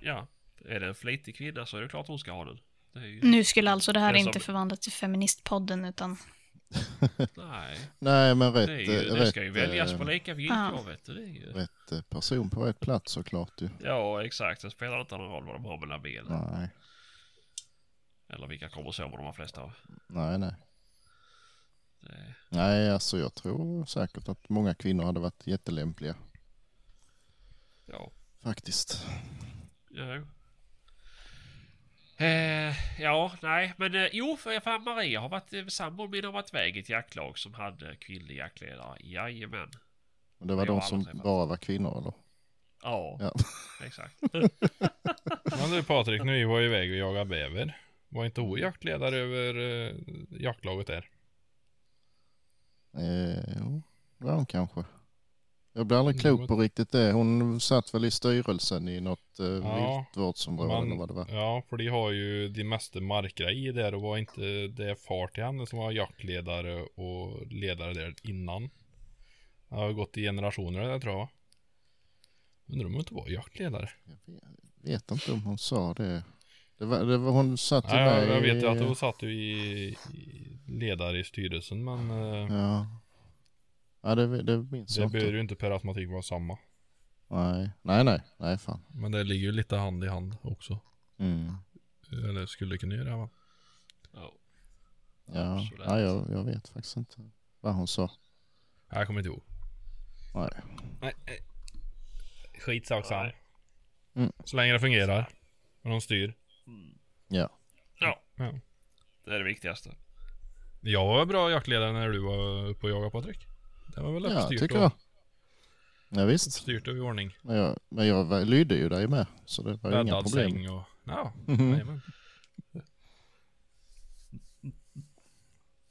ja, är det en flitig kvinna så är det klart hon ska ha den. Det är ju,
Nu skulle alltså det här
Det Mm. är
inte
som-
förvandlas till Feministpodden utan...
Nej,
Nej, men
det,
rätt,
är ju, det
rätt,
ska ju väljas
eh,
på lika villkor
ja.
vet du. Det är ju,
rätt eh, person på rätt plats såklart ju.
ja, exakt. Det spelar inte någon roll vad de har mellan benen.
Nej,
Eller vilka kromosomer de har flesta av.
nej, nej.
Det,
Nej, alltså jag tror säkert att många kvinnor hade varit jättelämpliga
ja.
faktiskt.
Ja. Eh, ja, nej, men eh, jo, för fan Maria har varit, eh, sambon min har varit iväg i ett jaktlag som hade kvinnlig jaktledare. Jajamän.
Och det var
Jag har
de som
aldrig träffat.
bara var kvinnor eller?
Ja,
Ja.
exakt.
Men du Patrik, när vi var iväg och jagade bäver. Var inte hon jaktledare över eh, jaktlaget där?
Eh, jo, det var hon kanske. Jag blir aldrig
Mm,
klok
vad-
på riktigt det. Hon satt väl i styrelsen i något eh,
Ja,
viltvårdsområde
man-
eller vad det var.
Ja, för de har ju de mesta markgrejer där och var inte det far till henne som var jaktledare och ledare där innan. Det har gått i generationer det där tror jag. Undrar om hon inte var jaktledare?
Jag vet inte om hon sa det. Det var, det var hon satt ju
Nej, jag,
med
jag vet
i-
ju att hon satt ju i, i ledare i styrelsen men eh,
Ja. Ja, det, det minns
det
jag
behöver
inte.
ju inte per automatik vara samma.
Nej, nej, nej, nej fan.
Men det ligger ju lite hand i hand också.
Mm.
Eller skulle kunna göra va?
Ja.
Ja,
Absolut.
nej, jag, jag vet faktiskt inte vad hon sa.
Jag kommer inte ihåg.
Nej.
Nej. Skitsak
samma. Nej.
Mm.
Så länge det fungerar. Och de styr.
Ja.
ja,
Ja.
det är det viktigaste.
Jag var bra jaktledare när du var uppe och jagade Patrik. Det var väl
Ja,
uppstyrt
tycker
och,
jag. Ja, visst.
styrt och i ordning.
Men jag, men jag var- lydde ju dig med, så det var ju inga
Bäddad
problem.
säng och... Ja,
Mhm.
jajamän.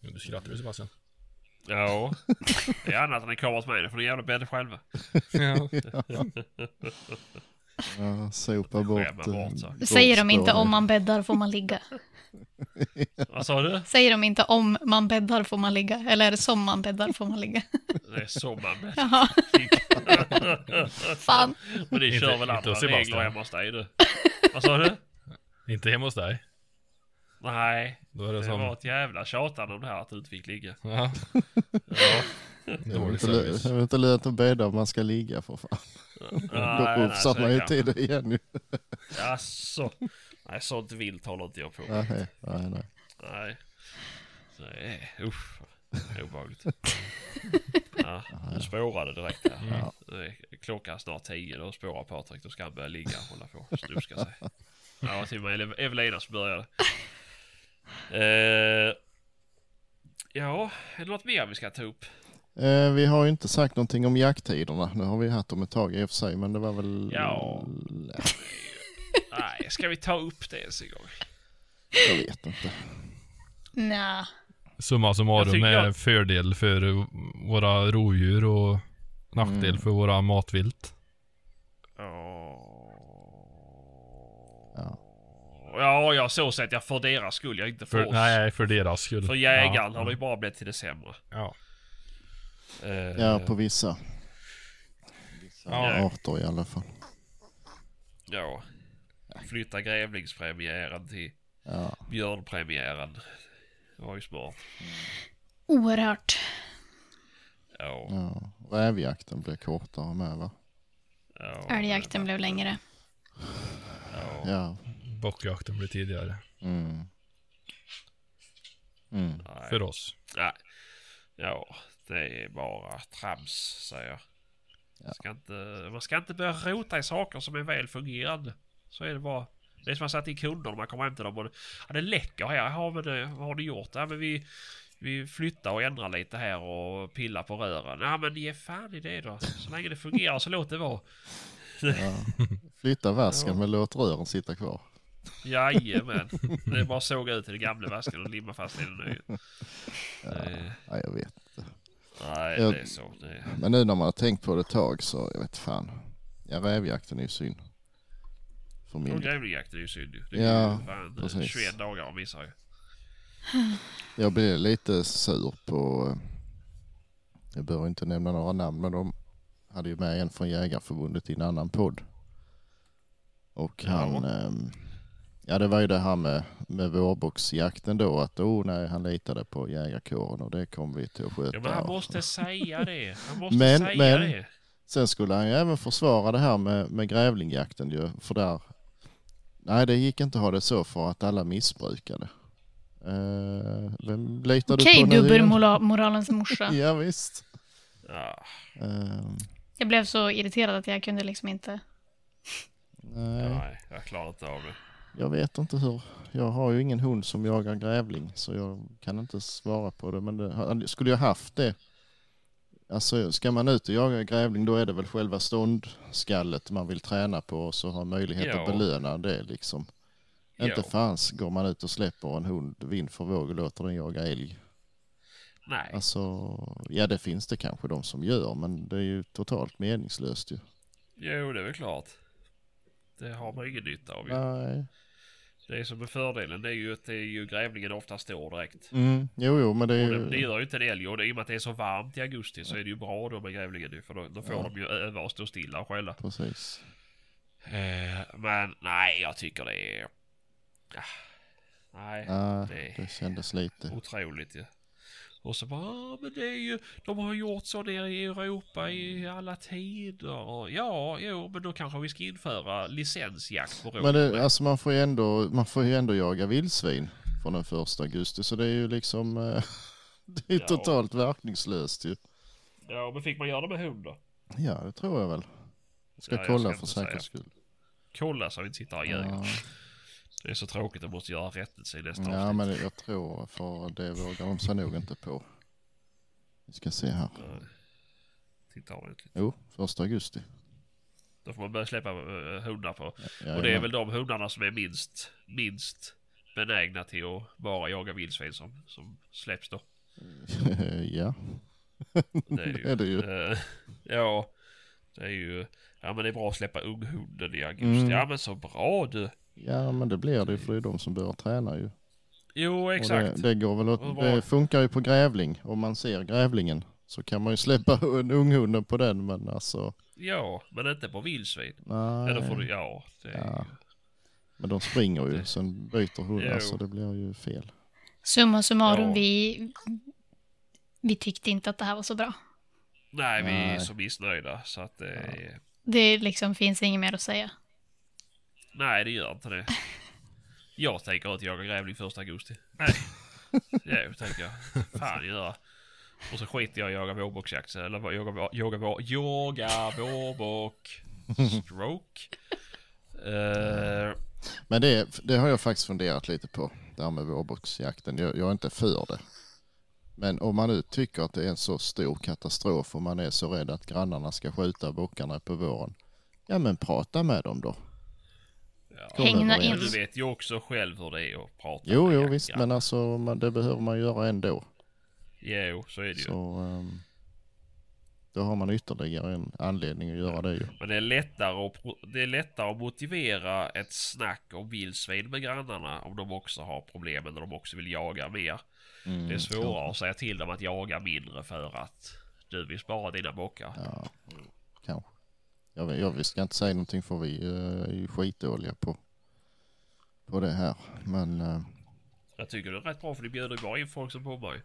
Ja, Du skrattar ju Sebastian.
Ja, det är annat än en kamera till mig. Det får ni jävla bädda själva.
Ja.
Ja, sopa bort.
Skämma bort alltså.
eh,
saker.
Det säger de inte
golfspåren.
om man bäddar får man ligga.
Vad sa du?
Säger de inte om man bäddar får man ligga. Eller är det som man bäddar får man ligga.
Det är sommarbädd.
Jaha, fan.
Men ni
Inte-
kör väl
inte
andra
hos Sebastian.
regler hemma hos dig du? Vad sa du?
Inte hemma hos dig.
Nej,
Då är det
det var
som...
ett jävla tjatande om det här att du inte fick ligga.
Ja,
Ja.
Jag vill
dålig
inte lö-
service.
jag vill inte lönt att bädda om man ska ligga för fan.
Nej,
Då
nej,
rufsar
så
man ju
kan-
till det igen ju.
Jaså? Nej, sånt vilt håller inte jag på med.
Nej, nej, nej.
Nej. Nej, usch. Det är Obehagligt. Ja, du spårade direkt där. Det är- Klockan är snart tio, då spårar Patrik. Då ska han börja ligga och hålla på och snuska sig. Ja, det var till och med Ele- Evelina som började. Eh, ja, är det något mer vi ska ta upp?
Eh, vi har ju inte sagt någonting om jakttiderna. Nu har vi haft dem ett tag i och för sig, men det var väl...
Ja. Nej, ska vi ta upp det ens en gång?
Jag vet inte.
Nja.
Summa
Jag
summarum
tycker
är
jag-
en fördel för våra rovdjur och nackdel
Mm.
för våra matvilt.
Ja.
Ja, ja, så sett. Ja, för deras skull. Jag inte för,
För,
oss.
nej, för deras skull.
För jägaren
Ja.
har det ju bara blivit till det sämre.
Ja.
Eh,
Ja, på vissa. Vissa
Ja.
arter i alla fall.
ja. Flytta grävlingspremiären till
Ja.
björnpremiären. Det var ju smart.
Oerhört.
Ja.
Ja. Rävjakten blir kortare med va?
ja.
Älgjakten blev längre.
Ja.
Ja.
Bockjakten blir tidigare.
Mm. Mm.
Nej.
För oss.
Nej. Ja, det är bara trams, säger jag. Man Ska inte, man ska inte börja rota i saker som är väl fungerande. Så är det bara. Det är som att säga till kunder när man kommer hem till dem och det- ja, det läcker här. Jaha, men det, vad har du gjort? Ja, men vi, vi flyttar och ändrar lite här och pillar på rören. Ja, men ge fan i det då. Så länge det fungerar så låt det vara.
Ja. Flytta vasken men låt rören sitta kvar.
Jajamän. Det är bara att såga ut i den gamla vasken och limma fast i den nya. Det-
Ja, jag vet.
Nej,
Jag-
det är så. Det är...
Men nu när man har tänkt på det ett tag så, jag vet fan. Ja, rävjakten är ju synd. För min
Och
del.
grävlingjakten är ju synd ju. Det är
Ja,
ju fan eh,
precis.
21 dagar och missar ju.
Jag blev lite sur på, eh, jag behöver inte nämna några namn, men de hade ju med en från Jägarförbundet i en annan podd. Och han, ehm, ja det var ju det här med, med vårbocksjakten då, att oh nej, han litade på jägarkåren och det kom vi till att sköta.
Ja, men han
och-
måste säga det. Han måste
Men-
säga
men-
det.
Sen skulle han ju även försvara det här med, med grävlingjakten ju, för där... Nej, det gick inte att ha det så för att alla missbrukade. Uh, vem litar
Okej,
du på nu igen?
dubbelmoralens morsa.
Ja, visst.
Ja,
Eh,
Jag blev så irriterad att jag kunde liksom inte...
nej,
nej, jag klarar inte av det.
jag vet inte hur. Jag har ju ingen hund som jagar grävling så jag kan inte svara på det. Men det, skulle jag haft det. Alltså ska man ut och jaga grävling då är det väl själva ståndskallet man vill träna på och så har möjlighet att
Ja.
belöna det liksom. Inte
Jo.
fanns går man ut och släpper en hund vind för våg och låter den jaga älg.
Nej.
Alltså, ja det finns det kanske de som gör men det är ju totalt meningslöst ju.
Jo, det är väl klart. Det har man ingen nytta av ju.
Nej.
Det är som är fördelen, det är ju att det är ju grävlingen ofta står direkt.
Mm. Jo, jo, men det är
Och det, det
ju...
gör ju inte en älg och det, i och med att det är så varmt i augusti så är det ju bra då med grävlingen ju, för då, då får
Ja.
de ju öva och stå stilla och skälla.
Precis.
Eh, men nej, jag tycker det är... Ah, nej,
Nej,
det
det kändes lite.
otroligt ju. Och så bara, ah, men det är ju, de har gjort så nere i Europa i alla tider. Ja, jo, men då kanske vi ska införa licensjakt på rådjur.
Men det, alltså man får ju ändå, man får ju ändå jaga vildsvin från den första augusti så det är ju liksom... eh, Det är ju
Ja.
totalt verkningslöst ju.
Ja, men fick man göra det med hund då?
Ja, det tror jag väl. Jag ska
Ja, jag
kolla
ska
för
inte säga.
säkerhets skull.
Kolla så vi inte sitter här och ljuger.
Ja,
Det är så tråkigt att måste göra rättelse i nästa
ja,
avsnitt.
men det- jag tror för det vågar de sig nog inte på. Vi ska se här.
Nej. Titta ordentligt.
Jo, första augusti.
Då får man börja släppa eh, hundar på.
Ja,
och det är väl de hundarna som är minst, minst benägna till att bara jaga vildsvin som, som släpps då.
ja.
Det är ju.
Det är det ju.
Eh, ja, det är ju. Ja men det är bra att släppa unghunden i augusti.
Mm.
Ja men så bra du.
ja, men det blir det ju för det är de som börjar träna ju.
Jo
Och
exakt.
Det, det, går väl
Och
att,
vad-
det funkar ju på grävling. Om man ser grävlingen så kan man ju släppa en unghunden på den men alltså.
Ja, men inte på vildsvin.
Nej.
Eller får du, ja. Det är,
Ja. Men de springer ju, sen byter hundar
Jo.
så det blir ju fel.
Summa summarum,
Ja.
vi... Vi tyckte inte att det här var så bra.
Nej vi är
Nej.
så missnöjda så att det är...
Det liksom finns inget mer att säga.
Nej, det gör inte det. Jag tänker inte jaga grävling första augusti. Nej. Jo, tänker jag. Fan göra. Och så skiter jag i att jaga vårbocksjakt. Eller vad- jaga, vå- jaga, vå- jaga vårbock. Stroke. Eh,
Men det, det har jag faktiskt funderat lite på, det här med vårbocksjakten. Jag, jag är inte för det. Men om man nu tycker att det är en så stor katastrof och man är så rädd att grannarna ska skjuta bockarna på våren. Ja men prata med dem då.
ja.
Kom
Hängna
överens.
Men
in.
du vet ju också själv hur det är att prata
Jo,
med
jo
jaktgrannar.
visst men alltså man, det behöver man göra ändå.
Jo, så är det ju.
Så ehm, då har man ytterligare en anledning att göra det ju.
Men det är, lättare att, pro- det är lättare att motivera ett snack om vildsvin med grannarna om de också har problem eller de också vill jaga mer.
Mm,
Det är svårare att säga till dem att jaga mindre för att du vill spara dina bockar.
Ja, kanske. Jag, vet- jag vi ska inte säga någonting för vi eh, är ju skitdåliga på, på det här. Men eh,
Jag tycker det är rätt bra för ni bjuder ju bara in folk som bommar ju.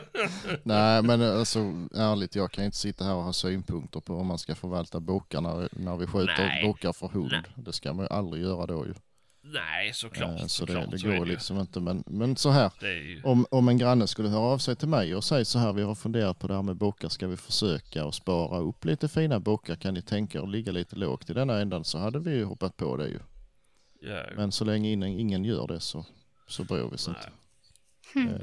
nej, men alltså ärligt, jag kan inte sitta här och ha synpunkter på om man ska förvalta bockarna när vi skjuter
Nej.
bockar för hund.
Nej.
Det ska man ju aldrig göra då ju.
Nej, såklart.
Eh, så det,
såklart,
det
så är
går
ju.
liksom inte. Men, men så här,
Det är ju...
om, om en granne skulle höra av sig till mig och säga så här, vi har funderat på det här med bockar, ska vi försöka och spara upp lite fina bockar? Kan ni tänka er att ligga lite lågt i denna ändan? Så hade vi ju hoppat på det ju.
Ja,
Men så länge ingen, ingen gör det så, så bryr vi oss
nej.
inte.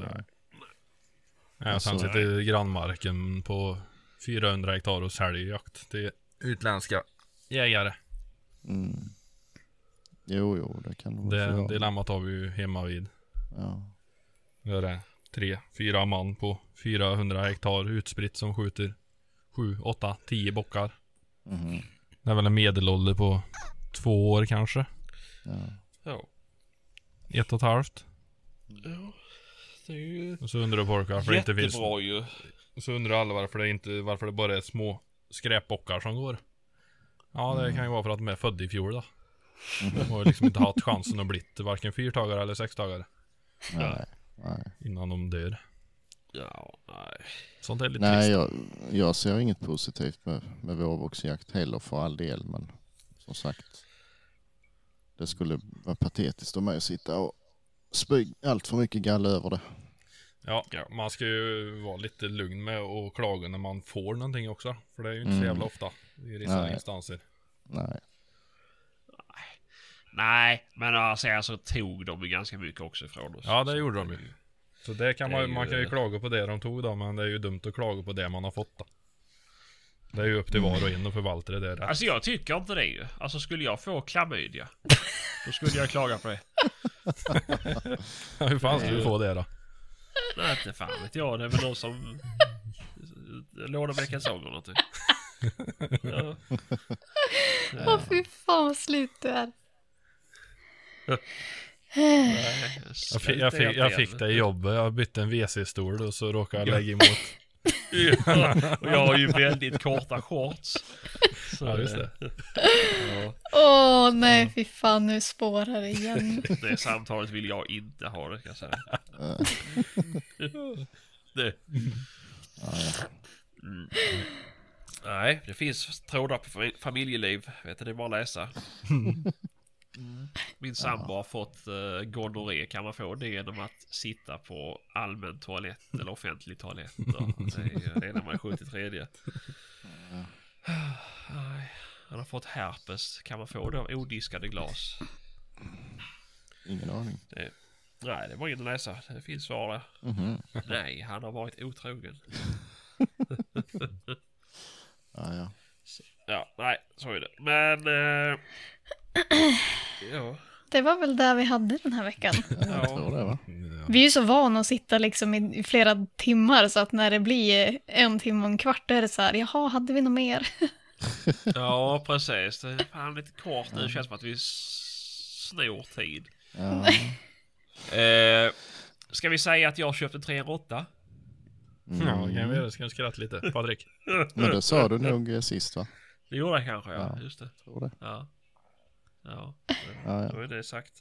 Ja, sen
Alltså-
sitter grannmarken på 400 hektar och säljer jakt till utländska jägare.
Jo, jo, det kan nog få
Det,
vara.
det lammet har vi ju hemma vid.
Ja.
Det är det. Tre, fyra man på 400 hektar utspritt som skjuter sju, åtta, tio bockar.
Mhm.
Det är väl en medelålder på två år kanske.
ja.
Ja.
Ett och ett halvt.
ja. Det är ju
Och så undrar folk varför det inte finns...
jättebra ju.
Och så undrar alla varför det inte, varför det bara är små skräpbockar som går. Ja,
Mm.
det kan ju vara för att de är födda i fjol då. De har ju liksom inte haft chansen att bli varken fyrtagare eller sextagare
Nej, nej.
innan de dör.
Ja, nej.
Sånt är lite
nej
trist.
jag, jag ser inget positivt med, med vårboxjakt heller för all del. Men som sagt, det skulle vara patetiskt om mig att sitta och spy allt för mycket galla över det.
Ja, man ska ju vara lite lugn med att klaga när man får någonting också. För det är ju inte så
Mm.
jävla ofta i vissa
Nej.
instanser.
Nej.
Nej, men alltså, alltså tog de ju ganska mycket också ifrån oss.
Ja, det
Så
gjorde
att
de
det är
ju. Så det kan
Det är
man,
ju-
man kan ju klaga på det de tog då, men det är ju dumt att klaga på det man har fått då. Det är ju upp till var och en att förvalta det där rätt.
Alltså jag tycker inte det ju. Alltså skulle jag få klamydia, då skulle jag klaga på det.
Hur fan ska du få det då?
Nej, inte fan vet jag. Det är väl någon som lånar mig kalsonger eller någonting. Ja.
Åh fy fan vad slut du är.
Nej,
Jag fick, jag, fick, jag fick det i jobbet, jag bytte en WC-stol och så råkade jag lägga emot.
Ja, och jag har ju väldigt korta shorts. Så
Ja, just det.
Ja,
Åh nej, fy fan nu spårar det igen.
det samtalet vill jag inte ha det kan jag säga.
Eh,
Det.
nej.
Mm. Nej, det finns trådar på fami- familjeliv. Vet du, det är bara att läsa. Min sambo har fått uh, gonorré. Kan man få det genom att sitta på allmän toalett eller offentlig toalett? då? Det är det är när man är 73. Nej, Han har fått herpes. Kan man få det av odiskade glas?
Ingen aning.
Det, nej, det var inget att läsa. Det finns svar där.
Mhm.
Nej, han har varit otrogen.
Ja, ja.
Ja, nej, så är det. Men... eh, ja.
Det var väl där vi hade den här veckan.
Jag tror det va?
Mm.
Vi är ju så vana att sitta liksom i flera timmar så att när det blir en timme och en kvart då är det så här, jaha, hade vi något mer?
ja, precis. Det är fan lite kort nu. Det känns som att vi s- snor tid.
Ja.
Eh, ska vi säga att jag köpte 308?
Ja, det kan vi göra. Ska vi skratta lite? Patrik?
Mm. Men det sa du nog eh, sist va?
Det gjorde jag kanske, ja.
Ja.
Just det.
Tror det.
Ja. Ja,
Ja, ja.
då är det sagt.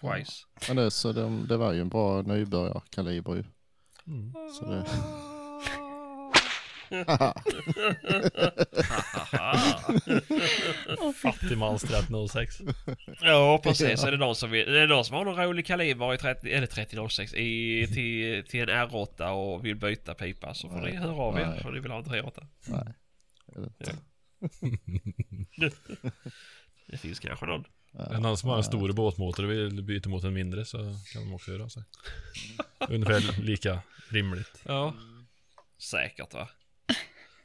Twice.
Men det, så de, det var ju en bra nybörjarkaliber ju.
Mm.
Så det...
Haha.
Åh, fy
Fattigmans 306.
Ja, precis. Är det någon som, vill, är det någon som har någon rolig kaliber i 30, eller 3006 i, till, till en R8 och vill byta pipa så får ni
Nej.
höra av er
Nej.
om ni vill ha en 308.
Nej. det är det inte.
Det finns kanske någon.
Är det någon som har en stor båtmotor och vill byta mot en mindre så kan de också höra av sig. Ungefär lika rimligt.
Ja. Säkert va?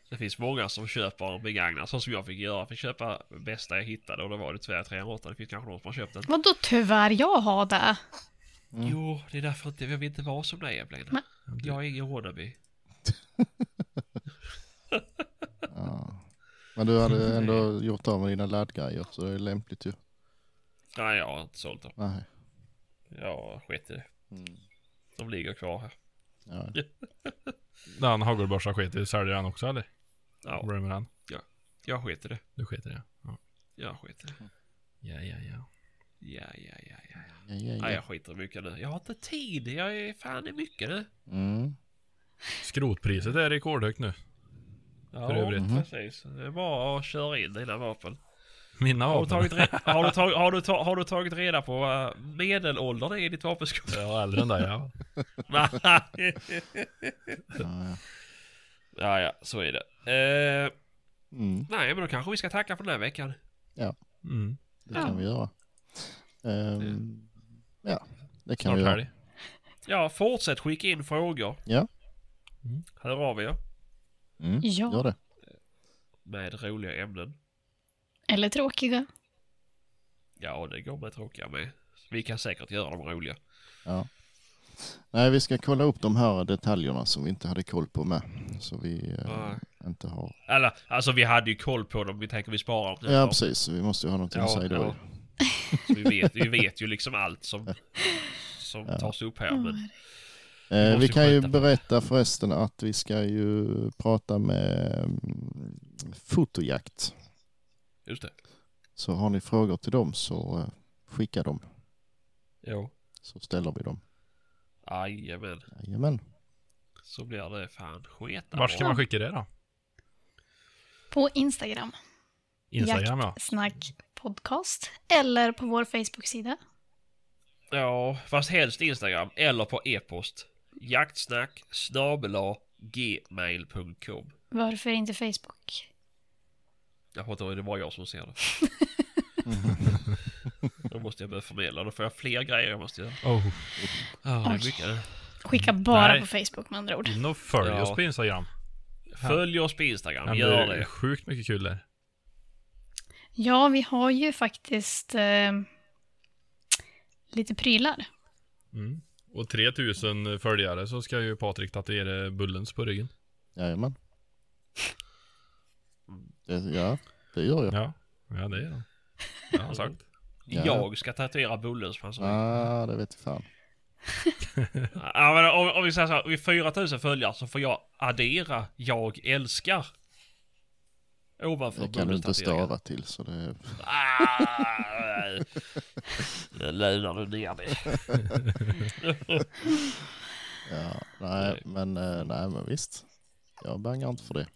Det finns många som köper begagnat, så som jag fick göra. Jag fick köpa bästa jag hittade och då var det tyvärr 308. Det finns kanske någon som har köpt den.
Vadå tyvärr, jag har det.
Jo, det är därför inte, jag vill inte vara som dig Evelina.
Men-
Jag är ingen wannabe.
Ja. Men du hade ändå gjort av med dina laddgrejer så det är lämpligt ju.
Nej, jag har inte sålt dem.
Nej.
Jag sket i det.
Mm.
De ligger kvar här.
Ja.
Den hagelbörsan sket i, säljer den också eller?
Ja,
Vad är det med den?
jag sket i det.
Du sket i det? Ja,
Jag sket i det.
ja, ja. ja.
Ja, ja, ja,
Ja,
ja. ja.
ja,
Ah,
Nej,
ja.
jag skiter i mycket nu. Jag har inte tid. Jag är fan i mycket nu.
Mm.
Skrotpriset är rekordhögt nu.
Ja, mhm.
För övrigt.
precis. Det är bara att köra in dina vapen.
Mina
Har du
vapen.
tagit, re- har du tag- har du ta- har du tagit reda på vad medelåldern är i ditt vapenskåp?
Ja, äldre än dig ja.
Nej.
Ja, ja.
ja, ja, så är det. Eh,
Mm.
nej, men då kanske vi ska tacka för den här veckan.
Mm.
Det kan vi göra. Ehm, ja, det kan
Snart
vi göra.
helg.
Ja, fortsätt skicka in frågor.
Ja.
Mm.
Hör av er
Mm.
Ja.
Gör det.
med roliga ämnen.
Eller tråkiga.
Ja, det går med tråkiga med. Vi kan säkert göra dem roliga.
Ja. Nej, vi ska kolla upp de här detaljerna som vi inte hade koll på med. Så vi eh,
Nej.
inte har...
Eller, alltså vi hade ju koll på dem. Vi tänker vi sparar dem. till
Ja,
dem.
precis. Vi måste ju ha någonting att
Ja,
säga då. Eh,
ja. Så Vi, vet, vi vet ju liksom allt som, som tas upp här. Men,
Eh, vi
måste
kan ju
sköta på det.
berätta förresten att vi ska ju prata med mm, Fotojakt.
just det.
Så har ni frågor till dem så eh, skicka dem.
Jo.
Så ställer vi dem.
Jajamän.
Jajamän.
Så blir det fan sketa
Vart ska
bra.
man skicka det då?
På Instagram,
Instagram ja.
Snack Podcast, eller på vår Facebook-sida.
Ja, fast helst Instagram eller på e-post. Jaktsnack snabela gmail.com.
Varför inte Facebook?
Jag fattar det var jag som ser det. Då måste jag börja förmedla. Då får jag fler grejer jag måste göra.
Oh.
Ah, det
Oj.
är mycket. det.
Skicka bara
Nej.
på Facebook med andra ord.
In och följ
Ja.
oss på Instagram.
Följ oss på Instagram.
Men
Gör
det är
det.
sjukt mycket kul där.
Ja, vi har ju faktiskt eh, lite prylar.
Mm. Och 3000 följare så ska ju Patrik tatuera Bullens på ryggen.
Jajamän.
Mm.
Det, ja, det gör jag.
Ja, ja det är han. Det har han sagt.
Ja.
Jag ska tatuera Bullens på hans rygg.
Ah, det vet vi fan.
Ja, men om, om vi säger så här, vid 4000 följare så får jag addera jag älskar. Ovanför
Det kan du inte
Bullens-tatueringen.
stava till. Så det,
Ah, nu lunar du ner mig.
ja, nej, men, eh, nej, men visst. Jag bangar inte för det.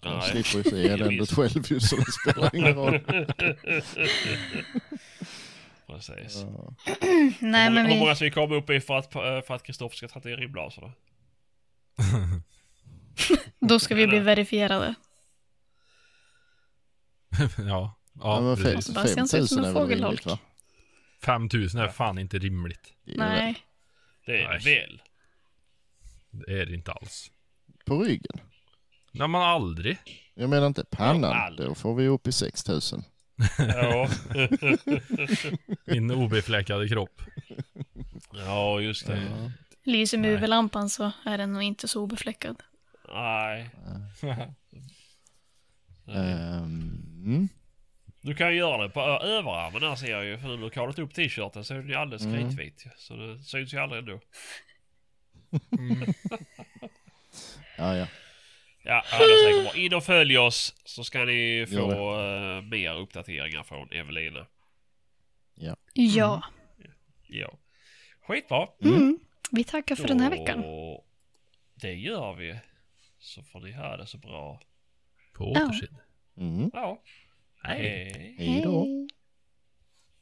Jag
Nej.
slipper ju se eländet
Visst.
själv ju så det spelar ingen roll.
Precis.
Ja.
Nej,
hur,
men
hur många
vi,
ska vi komma upp i för att för att Kristoffer ska tatuera ribblaserna?
då ska vi bli verifierade.
ja,
Ja,
ja
men fe-
precis.
Sebastian ser ut
5000
som en
är väl rimligt
fågelholk.
va?
5000 är fan inte rimligt.
Det är det väl.
Nej,
Det är
Nej.
väl.
Det är det inte alls.
På ryggen?
Nej men aldrig.
Jag menar inte
Ja,
pannan.
aldrig.
Då får vi upp i 6000.
Ja.
Min obefläckade kropp.
ja, just det.
Ja.
lyser
Nej.
med UV-lampan så är den nog inte så obefläckad.
Nej.
Eh, Ehm, mm.
Du kan ju göra det på ö- överarmen här ser jag ju. För nu har du kavlat upp t-shirten så är den ju alldeles
Mm.
kritvit. ju. Så det syns ju aldrig ändå.
Ja, ja.
Ja, ja, det är säkert bra. In och följ oss så ska ni få eh, mer uppdateringar från Evelina.
Ja,
Ja. Skitbra.
mm. vi tackar för den här veckan.
Då- Det gör vi. Så får ni ha det så bra.
På
Ja.
återseende.
Mm.
Ja.
Hej.
Hej.
Hej då.
Hej.